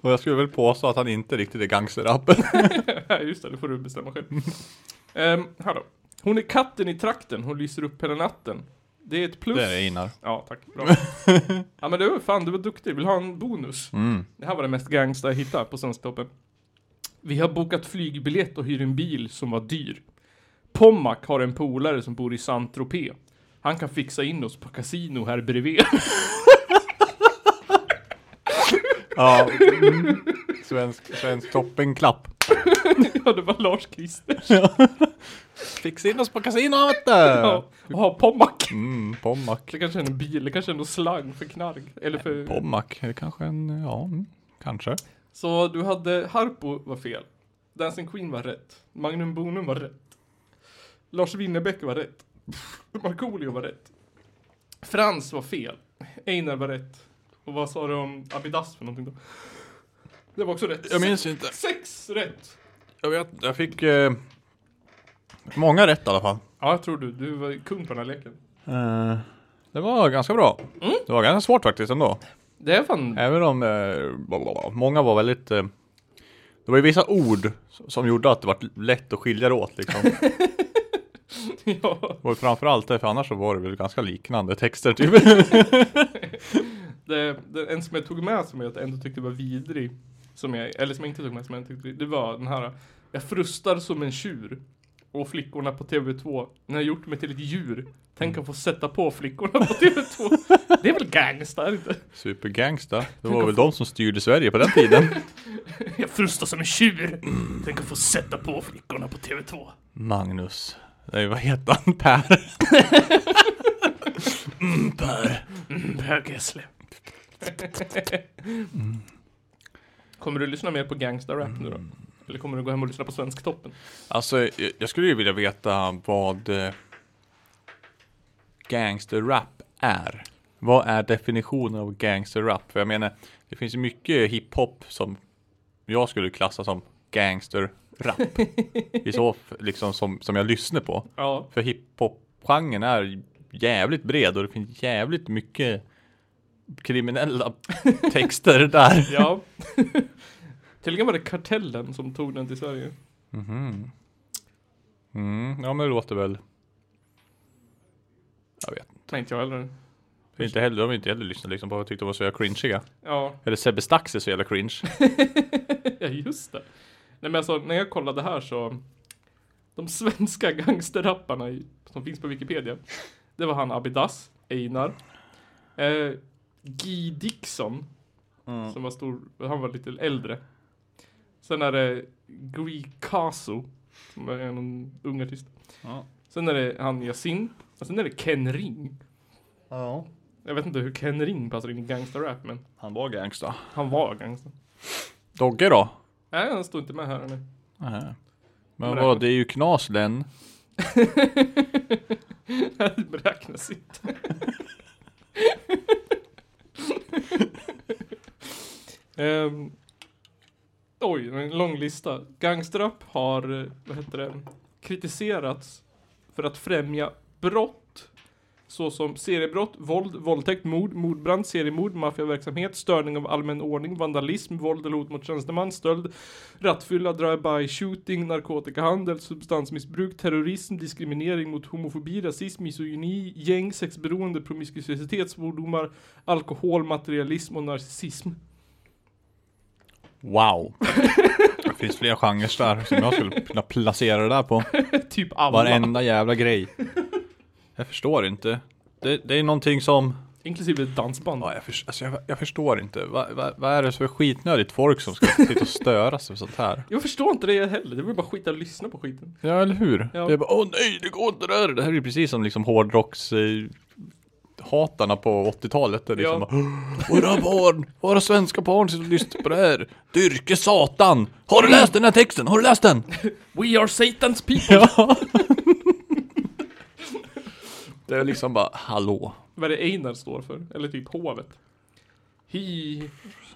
Och jag skulle väl påstå att han inte riktigt är gangsterrap.
*laughs* Ja, Just det, det får du bestämma själv. Ehm, här då. Hon är katten i trakten, hon lyser upp hela natten. *laughs* Det är ett plus.
det är Einar.
Ja, tack. Bra. ja, men du, fan, du var duktig. Vill du ha en bonus? Det här var det mest gangsta jag hittade på Svensktoppen. Vi har bokat flygbiljett och hyr en bil som var dyr. Pommac har en polare som bor i Saint-Tropez. Han kan fixa in oss på kasino här bredvid. *laughs*
Ja. Mm. Svensk, svensk toppenklapp.
ja, det var Lars-Christer.
Fixa in oss på kasinot! Ja.
Ja, och ha Pommac.
Mm, Pommac.
Det kanske är en bil, det kanske är någon slang för knark. Eller för...
Pommac, är det kanske en, ja, mm, kanske.
Så du hade Harpo var fel. Dancing Queen var rätt. Magnum Bonum var rätt. Lars Winnerbäck var rätt. *laughs* Markoolio var rätt. Frans var fel. Einar var rätt. Och vad sa du om Abidas för någonting då? Det var också rätt.
Jag minns inte.
Sex rätt!
Jag vet, jag fick eh, många rätt i alla fall.
Ja, jag tror du. Du var kung på den här leken.
Det var ganska bra. Det var ganska svårt faktiskt ändå.
Det är fan...
Även om eh, bla, bla, bla, många var väldigt... Eh, det var ju vissa ord som gjorde att det var lätt att skilja det åt *laughs* liksom.
*laughs* ja,
Och framförallt det, för annars så var det väl ganska liknande texter typ. *laughs*
det, det, en som jag tog med som jag ändå tyckte var vidrig. Som jag, eller som jag inte tog med som jag tyckte Det var den här Jag frustar som en tjur. Och flickorna på TV2. När jag gjort mig till ett djur. Tänk att få sätta på flickorna på TV2. Det är väl gangsta, inte?
Supergangsta. Det var väl de som styrde Sverige på den *laughs* tiden.
Jag frustar som en tjur. Tänk att få sätta på flickorna på TV2.
Magnus. Nej, vad heter han? Per?
Mm. Bög Gessle. Kommer du lyssna mer på gangsta-rap nu då? Eller kommer du gå hem och lyssna på Svensktoppen?
Alltså, jag- jag skulle ju vilja veta vad eh, gangsterrap är. Vad är definitionen av gangsterrap? För jag menar, det finns ju mycket hiphop som jag skulle klassa som gangsterrap. *laughs* I så f- liksom som, som jag lyssnar på.
Ja,
För hiphop-genren är jävligt bred och det finns
*laughs*
jävligt *laughs* mycket kriminella texter där.
Ja. Tydligen var det kartellen som tog den till Sverige.
Mm, ja men det låter väl. Jag vet inte.
Nej, inte jag heller.
För Inte heller, de har inte heller lyssnat liksom på vad jag tyckte de var så jävla cringiga.
Ja,
Eller Sebbe Stax är så jävla cringe.
ja just det. Nej men alltså, när jag kollade här så. De svenska *laughs* gangsterrapparna i, som finns på Wikipedia. Det var han Abidas, Einar. Eh, Guy Dixon.
Mm.
Som var stor, han var lite äldre. Sen är det Gui Kaso. Som är en ung artist.
Ja.
Sen är det han Yasin. Och sen är det Ken Ring.
Ja.
Jag vet inte hur Ken Ring passar in i gangsterrap men
*laughs* Han var gangsta.
han var gangster.
Dogge då?
Nej, han står inte med här nu.
Nej. Men vadå, det är ju knas den.
Det *laughs* beräknas inte. *laughs* Ehm, oj, en lång lista. Gangsterrap har, eh, vad heter det, kritiserats för att främja brott såsom seriebrott, våld, våldtäkt, mord, mordbrand, seriemord, maffiaverksamhet, störning av allmän ordning, vandalism, våld eller hot mot tjänsteman, stöld, rattfylla, drive-by, shooting, narkotikahandel, substansmissbruk, terrorism, diskriminering mot homofobi, rasism, misogyni, gäng, sexberoende, promiskuositet, svordomar, alkohol, materialism och narcissism. *laughs*
Wow. Det finns flera genrer där som jag skulle kunna placera det där på.
Typ alla.
Varenda jävla grej. Jag förstår inte. Det, det är någonting som...
Inklusive dansband.
Ja, jag, förs- alltså jag, jag förstår inte. Va, va, vad är det för skitnödigt folk som ska sitta och störa sig för sånt här?
Jag förstår inte det heller. Det var bara skit att lyssna på skiten.
Ja, eller hur?
Ja.
Det är bara, åh nej, det går inte där. Det här är ju precis som liksom hårdrocks... Eh, hatarna på 80-talet. Där liksom
Ja.
bara, Våra barn, våra svenska barn sitter och lyssnar på det här. Dyrke Satan! Har du läst den här texten? Har du
*laughs*
läst den?
We are Satan's people! *laughs*
Ja. det är liksom bara, hallå.
vad det Einar står för, eller typ hovet. He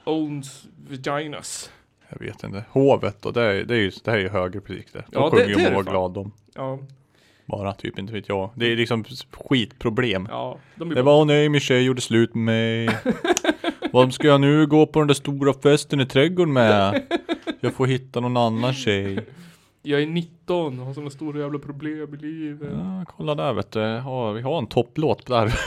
owns vaginas.
Jag vet inte. Hovet då, det är, det är ju, det här är ju högre precis det. De
Ja, det-
sjunger ju
det är
om
det
vad
fan.
glad de
Ja,
bara, typ inte vet jag. Det är liksom skitproblem.
ja. De är
Det
bara,
var hon nej, min tjej gjorde slut med mig. Vad ska jag nu gå på den där stora festen i trädgården med? Jag får hitta någon annan tjej.
jag är 19 och har såna stora jävla problem i livet.
Ja, kolla där vet du. Ja, vi har en topplåt där.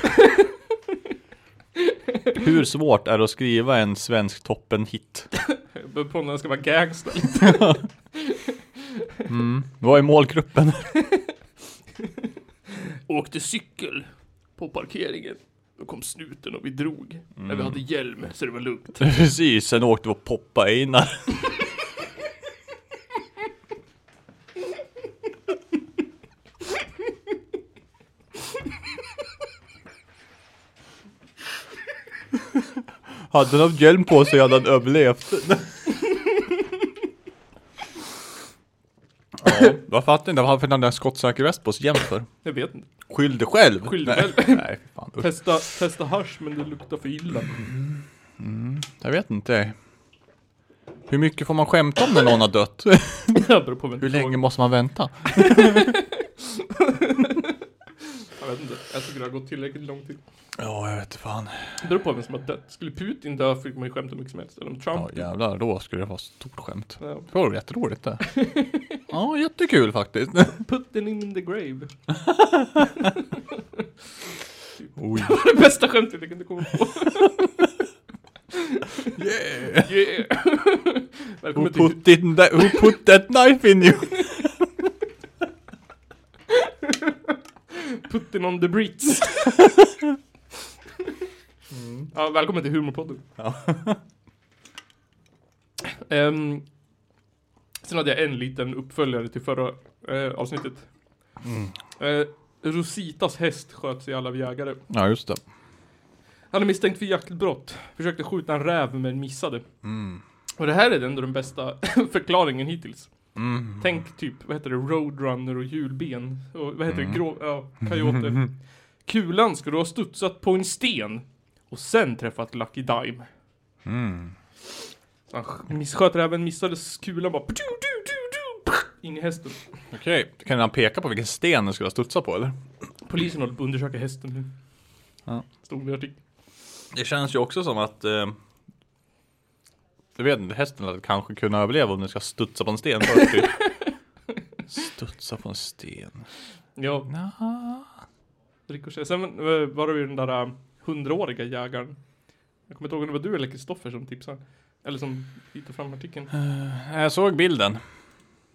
Hur svårt är det att skriva en svensk toppen-hit?
Jag behöver på när jag ska vara gangster.
Vad är målgruppen?
*laughs* Åkte cykel på parkeringen. Då kom snuten och vi drog. Men vi hade hjälm så det var lugnt.
Precis, sen åkte vi och poppa Einar. Hade han haft hjälm på sig hade han överlevt. ja, jag fattar inte varför den där skottsäker väst på sig jämt för.
Jag vet inte.
Skyll dig själv!
Skyll dig
nej,
själv.
nej, fan. usch.
Testa, testa hasch men det luktar för *laughs* illa.
Jag vet inte. Hur mycket får man skämta om när någon har dött?
Jag beror på vem
Hur
du frågar.
länge måste man vänta?
Jag vet inte. Jag tycker det har gått tillräckligt lång tid.
Ja, jag vet fan.
Det beror på vem som har dött. Skulle Putin dö fick man ju skämta hur mycket som helst. Eller om
Ja,
Trump.
jävlar, då skulle det vara stort skämt.
Ja.
Det var
*laughs*
jätteroligt det. Ja, jättekul faktiskt.
Put them in the grave. *laughs*
Oj.
Det bästa skämtet jag kunde komma på.
*laughs* Yeah.
*laughs* Yeah.
Who
Välkommen till...
put, it in the, who put that knife in you?
Putin on the Brits. ja, välkommen till Humorpodden.
Ja.
*laughs* Ehm, sen hade jag en liten uppföljare till förra eh, avsnittet. Eh, Rositas häst sköts i alla jägare.
Ja, just det.
Han är misstänkt för jaktbrott. Försökte skjuta en räv men missade. Och det här är ändå den bästa *laughs* förklaringen hittills. Tänk typ, vad heter det, roadrunner och hjulben. Och vad heter det, grå, ja, coyote. Kulan skulle ha studsat på en sten och sen träffat Lucky Dime. Så han sk- missköt räven, missade kulan bara... pdu, du, du, du, In i hästen.
Okej, kan han peka på vilken sten den skulle ha studsat på eller?
Polisen håller på att undersöka hästen nu.
Ja.
Stod det i artikeln.
Det känns ju också som att eh, Jag vet inte, hästen hade kanske kunnat överleva om den ska studsa på en sten
*laughs*
först typ. Studsa på en sten.
Ja,
Nja.
ricochet. Sen eh, var det ju den där eh, hundraåriga jägaren. Jag kommer inte ihåg om det var du eller Kristoffer som tipsade. Eller som hittade fram artikeln.
Jag såg bilden.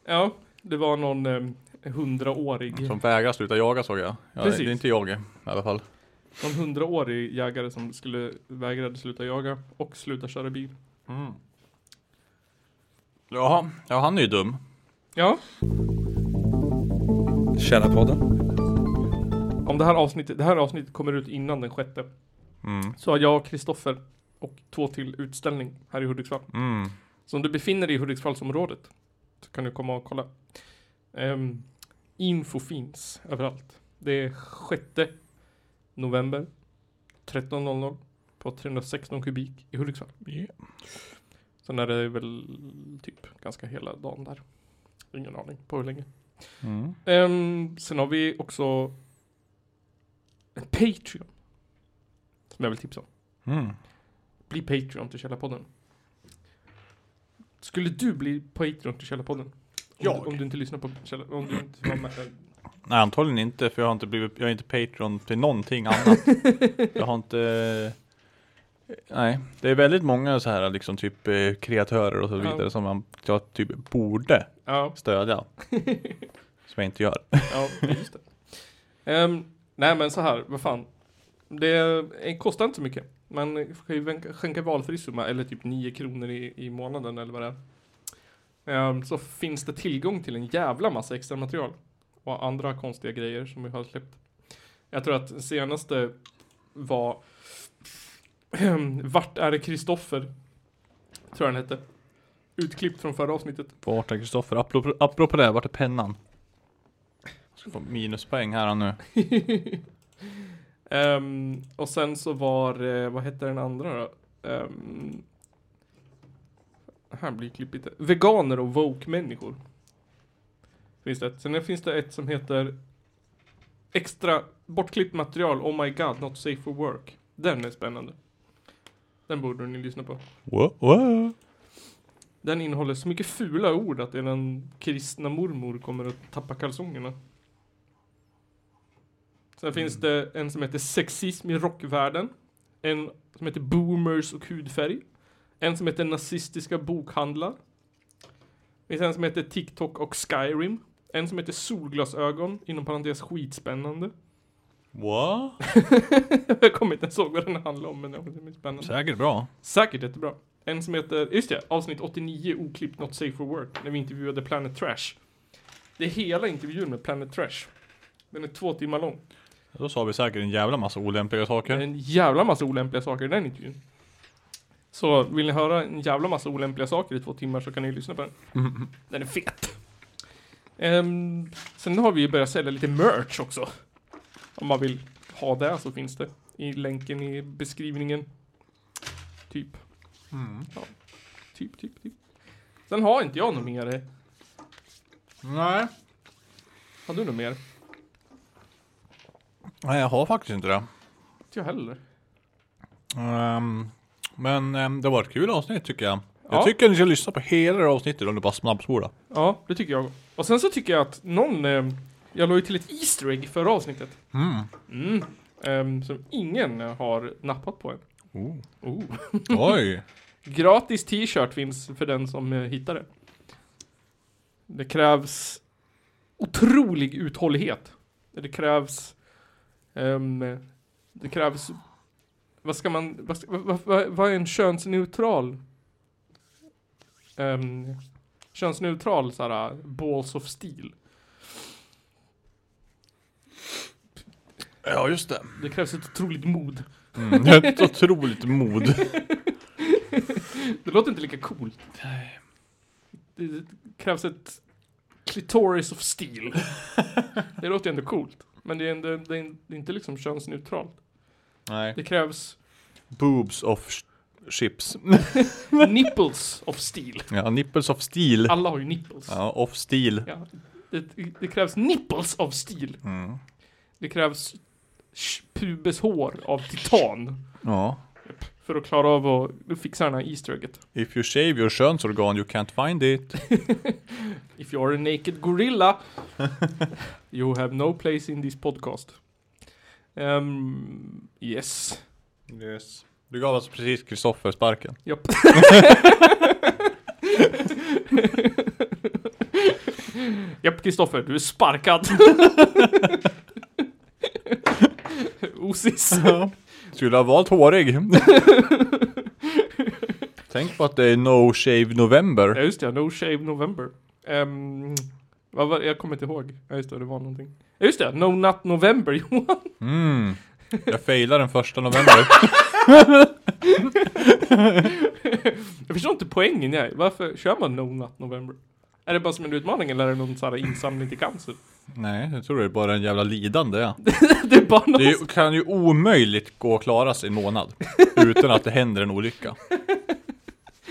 Ja, det var någon eh, hundraårig.
Som vägrar sluta jaga såg jag. Ja,
Precis.
Det är inte jag i alla fall.
Någon hundraårig jägare som skulle vägrade sluta jaga och sluta köra bil.
Jaha, ja han är ju dum.
Ja,
Källarpodden.
om det här avsnittet, det här avsnittet kommer ut innan den sjätte. Så har jag, Kristoffer och två till utställning här i Hudiksvall.
Mm.
Så om du befinner dig i Hudiksvallsområdet så kan du komma och kolla. Ehm, info finns överallt. Det är 6 november 13.00 på 316 kubik i Hudiksvall.
Yeah.
Sen är det väl typ ganska hela dagen där. Ingen aning på hur länge.
Mm.
Ehm, sen har vi också en Patreon. Som jag vill tipsa om.
Mm.
Bli Patreon till Källarpodden. Skulle du bli Patreon till Källarpodden? Om,
Jag?
Du, om du inte lyssnar på Källar... Om du inte var med.
Nej antagligen inte för jag har inte blivit, jag är inte Patreon till någonting *laughs* annat. jag har inte Nej, det är väldigt många så här liksom typ eh, kreatörer och så
Ja.
vidare som man jag typ borde
Ja,
*laughs* stödja. som jag inte gör.
ja, just det. Ehm, nej men så här, vad fan. Det eh, kostar inte så mycket. Man kan ju vänka- skänka valfri summa eller typ 9 kronor i, i månaden eller vad det är. Ehm, så finns det tillgång till en jävla massa extra material. Och andra konstiga grejer som vi har släppt. Jag tror att senaste var *clears throat* Vart är det Kristoffer? Tror jag den hette. Utklippt från förra avsnittet.
Vart är Kristoffer? Apropå, apropå det, vart är pennan? Jag ska få minuspoäng här nu.
*laughs* Ehm, och sen så var, eh, vad hette den andra då? Ehm, här blir klippigt. Veganer och woke-människor. Finns det ett. Sen finns det ett som heter Extra bortklippt material, oh my god, not safe for work. Den är spännande. Den borde ni lyssna på.
Wow, wow.
Den innehåller så mycket fula ord att eran kristna mormor kommer att tappa kalsongerna. Sen finns det en som heter Sexism i rockvärlden. En som heter Boomers och hudfärg. En som heter Nazistiska bokhandlar. Det finns en som heter TikTok och Skyrim. En som heter Solglasögon, inom parentes skitspännande. *laughs*
Wow.
Jag kommer inte ens ihåg vad den handlar om, men jag det är spännande.
Säkert bra.
Säkert jättebra. En som heter, just det, avsnitt 89 oklippt Not Safe for Work när vi intervjuade Planet Trash. Det är hela intervjun med Planet Trash. Den är två timmar lång.
Då sa vi säkert en jävla massa olämpliga
Det är
saker.
en jävla massa olämpliga saker i den intervjun. Så vill ni höra en jävla massa olämpliga saker i två timmar så kan ni lyssna på den. Den är fet. Ehm, sen har vi ju börjat sälja lite merch också. Om man vill ha det så finns det i länken i beskrivningen. Typ. Ja. Typ, typ, typ. Sen har inte jag något mer.
Nej.
Har du något mer?
Nej, jag har faktiskt inte det.
Inte jag heller.
Ehm, men ehm, det var ett kul avsnitt tycker jag.
Ja.
Jag tycker ni ska lyssna på hela det här avsnittet om du bara snabbspolar.
Ja, det tycker jag. Och sen så tycker jag att någon, eh, jag la ju till ett Easter egg förra avsnittet. Mm. Ehm, som ingen har nappat på än.
Oh.
Oh.
Oj.
Gratis t-shirt finns för den som eh, hittar det. Det krävs otrolig uthållighet. Det krävs... ehm, det krävs... Vad ska man... Vad, ska, vad, vad, vad är en könsneutral... Um, könsneutral såhär balls of steel.
Ja just det.
Det krävs ett otroligt mod.
Mm. *laughs* Det är ett otroligt mod.
Det låter inte lika coolt. Det, det krävs ett clitoris of steel. det låter ju ändå coolt. Men det är, ändå, det är det är inte liksom könsneutralt.
Nej.
Det krävs
Boobs of sh- chips.
nipples of steel.
ja, nipples of steel.
Alla har ju nipples.
Ja, off steel.
Ja, det, det krävs nipples av steel.
Mm.
Det krävs sh- pubeshår av titan.
Ja.
För att klara av att fixa den här Easter egget.
If you shave your könsorgan you can't find it.
If you are a naked gorilla You have no place in this podcast. Ehm, yes.
Yes. Du gav alltså precis Kristoffer sparken. *laughs*
Japp. Japp, Kristoffer, du är sparkad. Osis.
Skulle ha valt *laughs* hårig. Tänk på att det är no shave
Ja
november.
just det, ja, No Shave November. Ehm, vad var, jag kommer inte ihåg. Ja just det, det var någonting. Ja just det, No Nut November *laughs* Johan.
Mm. Jag failar den första november.
Jag förstår inte poängen jag. Varför kör man No Nut November? Är det bara som en utmaning eller är det någon sån här insamling till cancer? *laughs*
Nej, jag tror det är bara en jävla lidande. Ja.
Det är bara någon
Det är ju- kan ju omöjligt gå att klara sig en månad utan att det händer en olycka.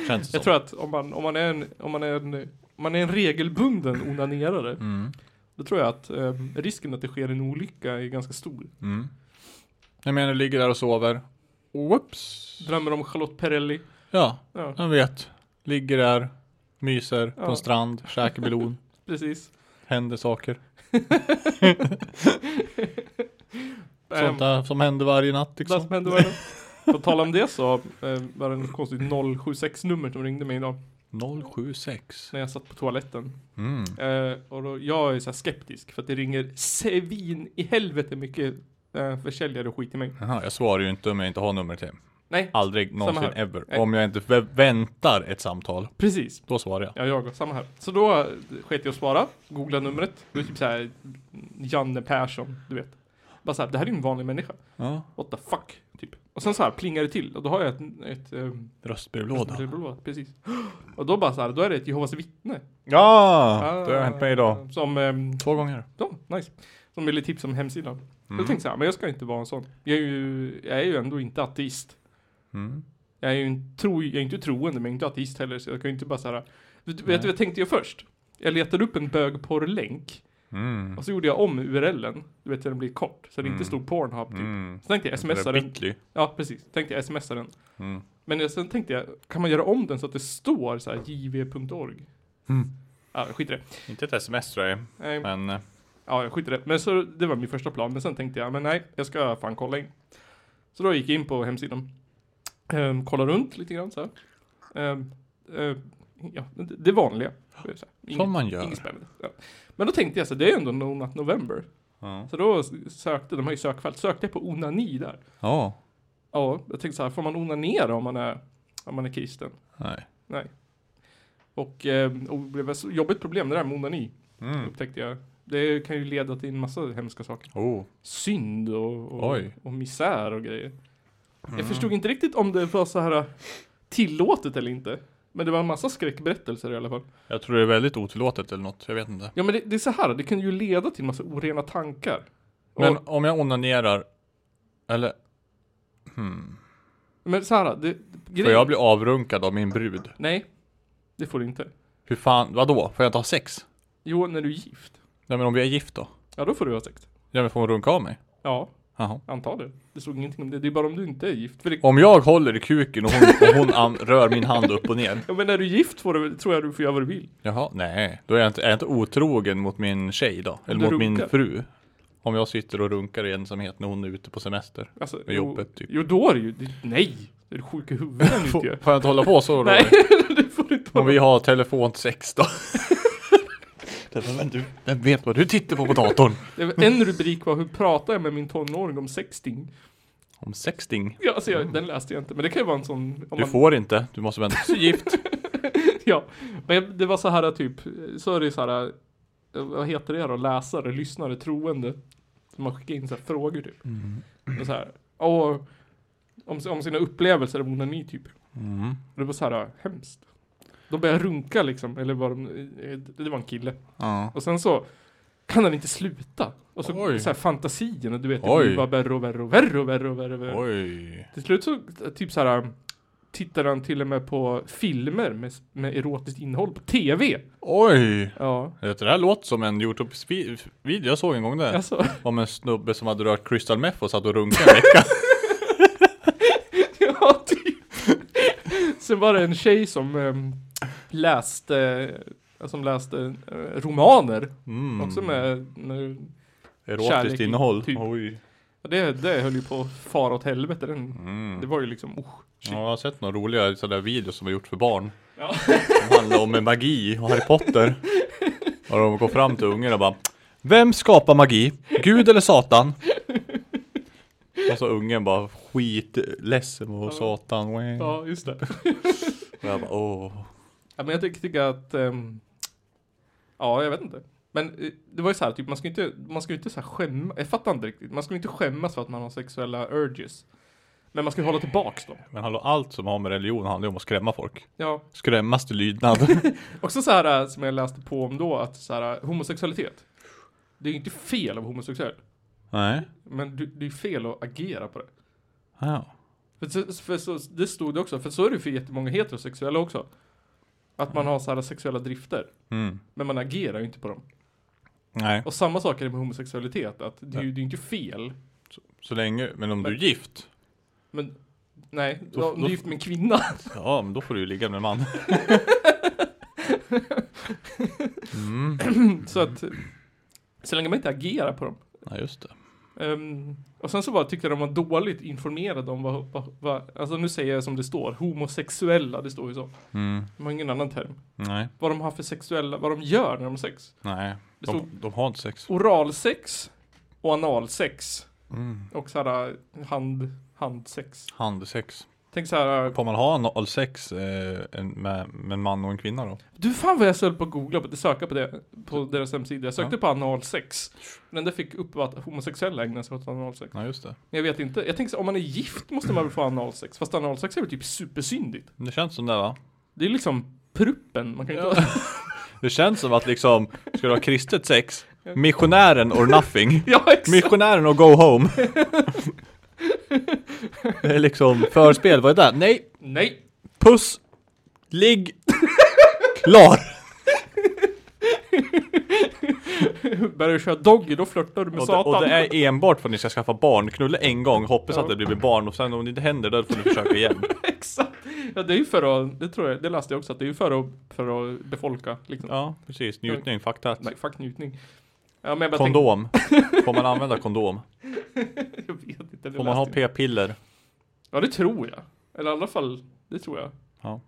Känns det
Jag
som.
tror att om man, om man är en, om man är en, om man är en regelbunden onanerare,
Mm.
då tror jag att eh, risken att det sker en olycka är ganska stor.
Jag menar, du ligger där och sover. Whoops.
Drömmer om Charlotte Perrelli.
Ja,
Ja.
jag vet. Ligger där, myser på
Ja.
en strand, käkar melon,
Precis.
händer saker.
*laughs* Ehm,
Sånt där som händer varje natt
Det som
liksom.
hände var det. På tal om det så eh, var det en konstigt 076-nummer som ringde mig idag
076.
när jag satt på toaletten.
Mm.
Eh, och då, jag är så här skeptisk för att det ringer svin i helvete mycket eh, försäljare och skit till mig.
Jaha, jag svarar ju inte om jag inte har numret hem.
Nej,
Aldrig någonsin
här. Eh.
ever.
Nej.
Om jag inte vä- väntar ett samtal,
precis.
då svarar jag.
Ja, jag och samma här. Så då eh, sket jag att svara, googla numret. Det är typ såhär Janne Persson, du vet. Bara såhär, det här är ju en vanlig människa.
Ja.
What the fuck? Typ. Och sen så här plingar det till och då har jag ett, ett ehm,
Röstbrevlåda.
brevlåda, precis. Och då bara såhär, då är det ett Jehovas vittne.
Ja,
Ah.
det har hänt mig idag.
Som, ehm,
Två gånger.
ja, nice. Som ville tipsa om hemsidan. Jag
Mm.
tänkte såhär, men jag ska inte vara en sån. Jag är ju, jag är ju ändå inte ateist.
Mm.
Jag är ju en, tro, jag är inte troende, men jag är inte ateist heller, så jag kan ju inte bara såhär... Vet vet du vad jag tänkte jag först? Jag letade upp en bögporrlänk,
Mm.
och så gjorde jag om urlen, du vet så den blir kort, så det inte stod Pornhub typ.
Mm.
Så tänkte jag smsa den.
Bitly.
Ja, precis. Tänkte jag smsa den.
Mm.
Men jag, sen tänkte jag, kan man göra om den så att det står så här jv.org?
Mm.
Ja, skit i det. Ehm,
Inte ett sms tror jag
Nej,
men eh,
Ja, jag skiter i det. Men så, det var min första plan. Men sen tänkte jag, men nej, jag ska fan kolla in. Så då gick jag in på hemsidan. Ehm, kollade runt lite grann så här. Ehm, eh, ja, det det vanliga. Så här, inget-
som man gör.
Inget spännande. Ja. Men då tänkte jag så här, det är ändå No Nut November.
Ja.
Så då s- sökte, de har ju sökfält, sökte jag på onani där.
Ja.
Ja, jag tänkte så här, får man onanera om man är, om man är kristen?
Nej.
Och, ehm, och det var ett jobbigt problem det där med onani,
Mm.
upptäckte jag. Det kan ju leda till en massa hemska saker.
Oh.
synd och, och,
Oj. Mm.
och misär och grejer. Jag förstod inte riktigt om det var så här eh, tillåtet eller inte. Men det var en massa skräckberättelser i alla fall.
Jag tror det är väldigt otillåtet eller något, jag vet inte.
Ja men det, det är så här, det kan ju leda till en massa orena tankar. Men,
Men
och,
om jag onanerar, eller hmm.
men så här, det,
Får
grejen,
jag bli avrunkad av min brud?
Nej, det får du inte.
Hur fan, vadå? Får jag inte ha sex?
Jo, när du är gift.
Nej men om vi är gift då?
Ja, då får du ha sex.
Ja men får hon runka av mig?
Ja,
Jaha.
anta det. Det stod ingenting om det. Det är bara om du inte är gift. För det,
Om jag håller i kuken och hon, och hon an, rör min hand upp och ner
ja, men när du är gift får du, tror jag du får göra vad du vill.
Jaha, nej. Då är jag inte, är jag inte otrogen mot min tjej då? Eller
du
mot
runkar.
min fru? Om jag sitter och runkar i ensamhet när hon är ute på semester
Alltså,
Med jobbet,
jo,
typ.
jo, då är det ju... Det, nej! Det är du sjuk i huvudet
*laughs*
om du inte
Får,
gör.
får jag inte hålla på så
*laughs*
då?
Nej,
eller?
det får du inte
Om vi har telefonsex *laughs* då? Den, men du, den vet vad du tittar på på datorn
Det var- En rubrik var hur pratar jag med min tonåring om sexting?
Om sexting
Ja, alltså jag, den läste jag inte, men det kan ju vara en sån... Om
Du
man,
får inte, du måste vänta tills du är gift
*laughs* ja. Men jag- det var så här typ, så är det så här, eh, vad heter det då, läsare, lyssnare, troende. Som man skickar in så här frågor typ.
Mm.
Och så här, och om, om sina upplevelser av onani typ.
Mm.
Och det var så här hemskt. De började runka liksom, eller var de, eh, det var en kille.
ja.
Och sen så kan han inte sluta. Och så,
Oj.
så här fantasierna, du vet, det
Oj.
blir bara värre och värre och värre och värre och värre. Och värre.
Oj
Till slut så typ så här tittar han till och med på filmer med, med erotiskt innehåll på TV.
Oj
Ja,
Det där låter som en Youtube-video jag såg en gång där
alltså. *laughs*
Om en snubbe som hade rört crystal meth och satt och runkade en vecka
Ja, typ. Sen var det en tjej som ehm, läste, som läste eh, romaner. Också med, med
Erotiskt
Kärlek i-
innehåll.
typ.
Oj.
och det, det höll ju på att fara åt helvete. Den, Det var ju liksom, oh,
Ja, jag har sett några roliga sådana videos som har gjort för barn. Som handlar om magi och Harry Potter. Och de går fram till ungen och bara Vem skapar magi? Gud eller Satan? Och så ungen bara skitledsen och Satan. Och
ja just det.
jag bara åh.
Ja, men jag tycker, tycker att, ehm, ja jag vet inte. Men eh, det var ju så här, typ man ska ju inte, man ska ju inte så här skämma, jag fattar inte riktigt. Man ska ju inte skämmas för att man har sexuella urges. Men man ska ju hålla tillbaks dem.
Men hallå, allt som har med religion handlar ju om att skrämma folk.
Ja.
Skrämmas
*laughs*
till lydnad.
Också så här eh, som jag läste på om då, att så här, eh, homosexualitet. Det är ju inte fel att vara homosexuell.
Nej.
Men du, det är fel att agera på det.
Ja.
För, så- för så, det stod det också, för så är det ju för jättemånga heterosexuella också. Att man har så här sexuella drifter.
Mm.
Men man agerar ju inte på dem.
Nej.
Och samma sak är det med homosexualitet, att det är ju det är ju inte fel.
Så länge, men om du är gift.
Men nej,
Då-
ja, om du är
då- Mm.
gift med en kvinna.
Ja, men då får du ju ligga med
*laughs*
en man.
så att så länge man inte agerar på dem.
Nej, just det.
Ehm, och sen så bara tyckte jag de var dåligt informerade om vad, vad, vad, alltså nu säger jag som det står, homosexuella, det står ju så.
Mm.
De har ingen annan term.
Nej.
Vad de har för sexuella, vad de gör när de har sex.
Nej,
Det stod-
de, de har inte sex.
Oralsex och analsex.
Mm.
Och så här hand, handsex.
Handsex.
Tänk så här,
Får man ha analsex eh, en, med, med en man och en kvinna då?
Du fan vad jag höll på att googla på det, söka på det på deras hemsida. Jag sökte på analsex. Men det fick upp att homosexuella ägnar sig åt analsex.
Ja, just det.
Men jag vet inte. Jag tänker så, om man är gift måste man väl få analsex. Fast analsex är väl typ supersyndigt.
Det känns som det va?
Det är liksom pruppen. Man kan ju inte... *laughs*
Det känns som att liksom, ska du ha
*laughs*
kristet sex? Missionären or nothing.
ja exakt.
Missionären och go
*laughs*
home. Det är liksom förspel, vad är det? där? Nej,
Nej.
puss, ligg,
*laughs*
klar.
Börjar du köra doggy då flörtar du med
Och det,
satan.
och det är enbart för att ni ska skaffa barn. Knulla en gång, hoppas att det blir barn och sen om det inte händer då får ni försöka
*laughs*
igen.
*laughs* Exakt. Ja det är ju för att, det tror jag, det läste jag också att det är ju för att, för att befolka liksom.
Ja, precis. Njutning, fuck that.
Nej, fuck njutning. Ja men jag bara tänkte,
Kondom. Får man
*laughs*
använda kondom?
jag vet inte. det
Får man ha
läste jag.
p-piller?
Ja det tror jag. Eller i alla fall, det tror jag.
Ja.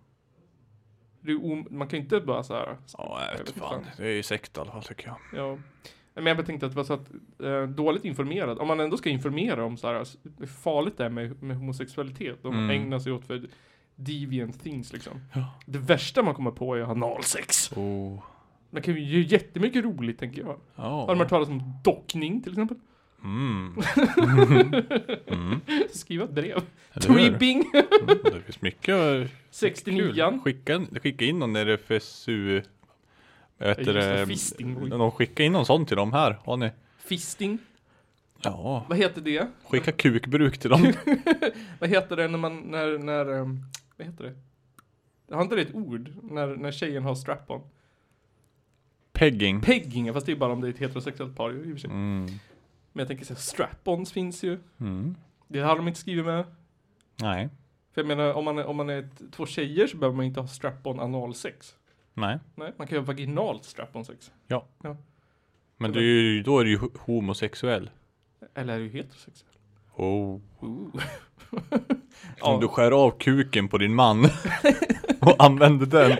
Det är om- man kan ju inte bara så här.
Ja, jag vet
inte
fan. Det är ju sekt i alla fall tycker jag.
Ja. Men jag bara tänkte att det var så att eh, dåligt informerad. Om man ändå ska informera om så här s- hur farligt det är med, med homosexualitet. De
Mm.
ägnar sig åt för deviant things liksom. Det värsta man kommer på är analsex.
Oh.
Man kan ju göra jättemycket roligt tänker jag. Har man hört talas om dockning till exempel? *laughs*
Mm.
Skriva ett brev.
Eller hur?
Tweebing!
Det finns mycket eh,
69an.
Skicka, skicka in någon RFSU. Jag vet
Ja, just det,
det,
fisting.
någon skicka in någon sån till dem här. Har ni?
Fisting.
Ja.
Vad heter det?
Skicka kukbruk
*laughs*
till dem.
Vad heter det när man, när, när, ehm, vad heter det? Jag har inte det ett ord när, när tjejen har strap-on?
Pegging.
Pegging, ja, fast det är bara om det är ett heterosexuellt par ju, i och för sig.
Mm.
Men jag tänker såhär, strap-ons finns ju.
Mm.
Det har de inte skrivit med.
Nej.
För jag menar, om man är, om man är ett, två tjejer så behöver man inte ha strap-on analsex.
Nej.
Nej, man kan ju ha vaginalt strap-on sex.
Men det är ju, då är du ju ho- homosexuell.
Eller är det ju heterosexuell?
Oh.
Ooh. *laughs*
Om
Ja.
du skär av kuken på din man *laughs* och använder den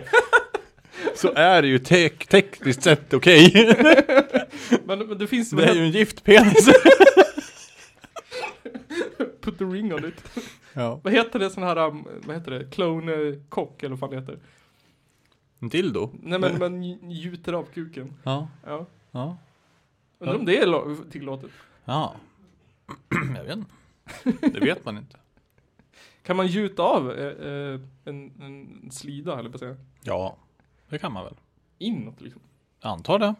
så är det ju tek- tekniskt sett okej. *laughs*
Men, men det finns
Det är ju
väl,
en gift penis.
put the ring on it.
Ja.
Vad heter det sån här, um, vad heter det, clone-kock eller vad fan det heter?
*laughs* En dildo.
Nej men man gjuter av kuken.
Ja.
Ja.
Ja.
Undrar om det är lo- tillåtet.
Ja. Jag vet inte. Det vet man inte.
Kan man gjuta av eh, eh, en, en slida, eller på att säga?
Ja. Det kan man väl.
Inåt liksom?
Jag antar det.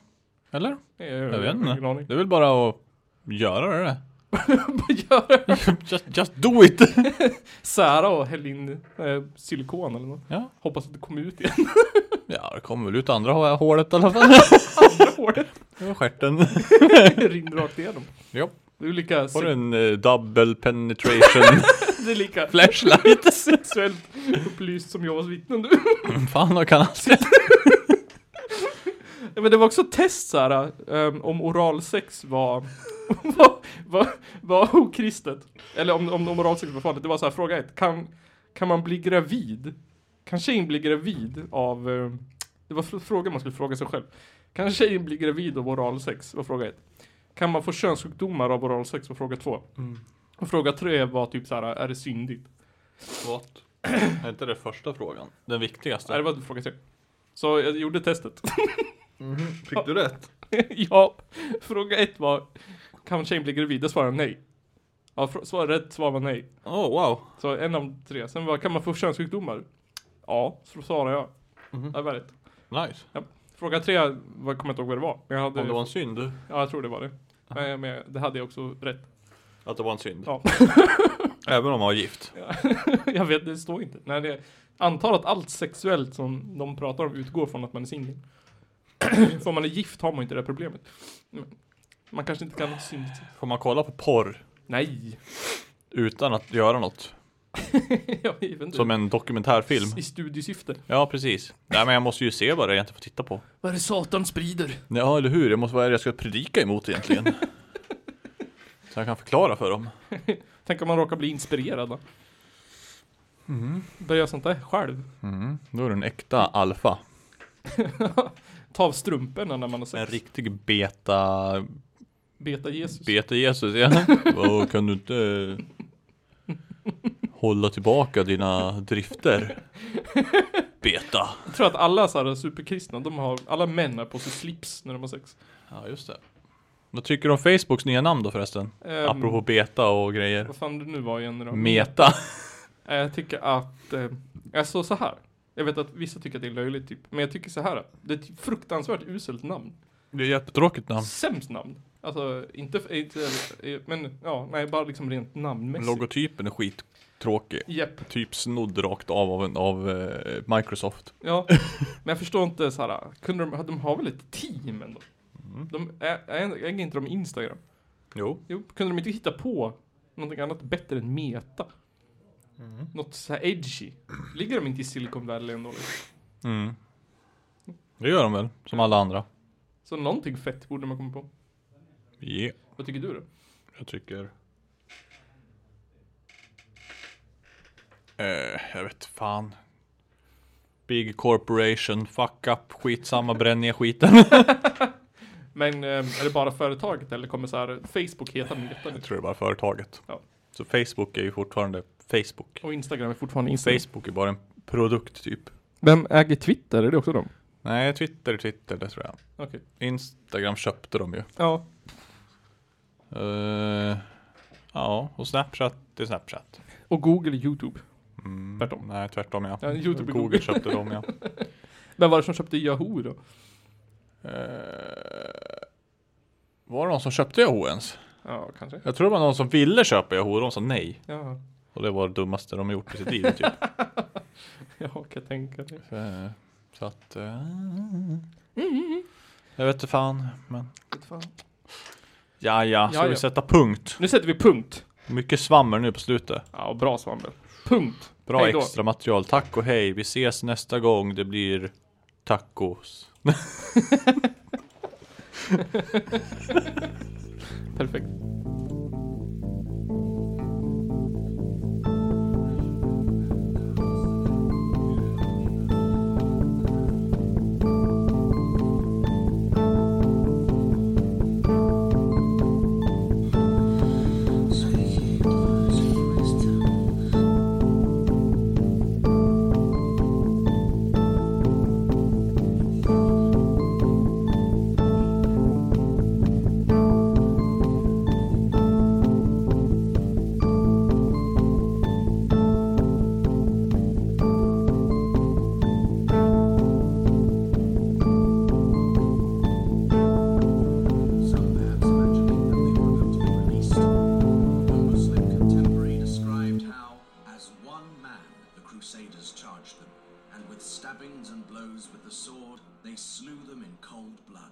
Eller?
Nej,
Jag vet
har ingen
inte.
aning. *laughs*
Det är väl bara att göra *laughs* det.
Vad gör jag?
Just, just do it!
Sära och häll in eh, silikon eller något.
Ja.
Hoppas att det kommer ut igen. *laughs*
Ja, det kommer väl ut andra hålet i alla fall. *laughs*
Andra håret
Det var stjärten.
rinner rakt igenom.
Ja.
Det är ju lika...
Får du en eh, double penetration
Det är lika *laughs*
Flashlight.
sexuellt upplyst som Jehovas vittnen nu.
*laughs* Fan vad kan han säga?
Ja, Men det var också ett test såhär, um, om oralsex var, *laughs* var, var, var okristet. Eller om, om, om oralsex var farligt. Det var så här, fråga ett, kan, kan man bli gravid? Kan tjejen bli gravid av, ehm, det var fr- frågan man skulle fråga sig själv. Kan tjejen bli gravid av oralsex? Var fråga ett. Kan man få könssjukdomar av oralsex? Var fråga två. Och fråga tre var typ så här, är det syndigt?
What? Är inte det första frågan? Den
Nej, det
viktigaste?
var fråga tre. Så jag gjorde testet.
Fick du rätt?
*laughs* ja, fråga ett var Kan tjejen bli gravid? Där svarade jag nej. Ja, fr- svar, rätt svar var nej.
Oh wow.
Så en av tre. Sen var kan man få könssjukdomar? Ja, så svarade jag.
Mhm.
Det var rätt.
Nice.
Ja. Fråga tre, var, kommer jag inte ihåg vad det var. Men jag hade,
Om det var en synd.
Ja, jag tror det var det. Men, men det hade jag också rätt.
Att det var en synd.
Ja. *laughs*
Även om man var gift.
jag vet, det står inte. Nej, det antar att allt sexuellt som de pratar om utgår från att man är singel. *clears throat* För om man är gift har man ju inte det här problemet. Men Man kanske inte kan synd.
Får man kolla på porr
Nej! *laughs*
utan att göra något?
jag vet inte.
Som en dokumentärfilm?
I studiesyfte.
Ja precis. Nej men jag måste ju se vad det är jag inte får titta på.
Vad är det Satan sprider?
Ja eller hur, jag måste, vad är det jag ska predika emot egentligen? *laughs* Så jag kan förklara för dem.
Tänk om man råkar bli inspirerad då. Börja sånt där själv.
Då är du en äkta alfa.
Ta av strumporna när man har
En
sex.
riktig beta...
Beta Jesus.
Beta Jesus ja. *laughs* Åh, kan du inte eh, hålla tillbaka dina drifter? Beta.
jag tror att alla så här superkristna, de har, alla män har på sig slips när de har sex.
Ja just det. Vad tycker du om Facebooks nya namn då förresten?
Ehm.
Apropå beta och grejer.
Vad fan det nu var igen då?
Meta.
Eh, Jag tycker att, eh, alltså så här. Jag vet att vissa tycker att det är löjligt typ, men jag tycker så här. Det är ett fruktansvärt uselt namn.
Det är jättetråkigt namn.
Sämst namn. Alltså inte, inte, eh, men ja, nej bara liksom rent namnmässigt.
Logotypen är skittråkig.
Japp.
Typ snodd rakt av av, en, av eh, Microsoft.
Ja, men jag förstår inte så här. Kunde de, de har väl ett team ändå? De ä- ä- äger inte de Instagram?
Jo.
Jo, kunde de inte hitta på någonting annat bättre än Meta? Något så här edgy. Ligger de inte i Silicon Valley ändå? liksom?
Mm. Det gör de väl, som alla andra.
Så någonting fett borde man komma på.
Ja,
Vad tycker du då?
jag tycker... Eh, jag vet fan. Big corporation, fuck up, skitsamma, bränn ner skiten. *laughs*
Men eh, är det bara företaget eller kommer så här Facebook heta Meta nu?
jag tror det är bara företaget.
Ja.
Så Facebook är ju fortfarande Facebook.
Och Instagram är fortfarande Instagram.
Facebook är bara en produkt typ.
Vem äger Twitter? Är det också de?
Nej, Twitter, Twitter, det tror jag.
Okej.
Instagram köpte de ju.
Ja.
Eh, ja, och Snapchat, det är Snapchat. Mm,
Och Google och YouTube. Tvärtom.
Nej, tvärtom ja.
Ja, YouTube och
Google,
Google.
köpte
*laughs*
dem ja.
Vem var det som köpte Yahoo då?
Eh, var det någon som köpte Yahoo ens?
Ja, kanske.
Jag tror det var någon som ville köpa Yahoo och de sa nej.
Ja. *laughs*
Och det var det dummaste de gjort i sitt liv typ.
Ja, kan jag tänka det.
Eh, Så att... eh, jag vet inte fan, men... Ja, ja, ska
Ja,
vi
ja.
sätta punkt?
Nu sätter vi punkt.
Mycket svammer nu på slutet.
Ja, bra Svanberg. Punkt.
Bra
Hej då.
extra material. Tack och hej. Vi ses nästa gång. Det blir tacos.
Perfekt.
Some bands imagining that they were going to be released. One Muslim contemporary described how, as one man, the Crusaders charged them, and with stabbings and blows with the sword, they slew them in cold blood.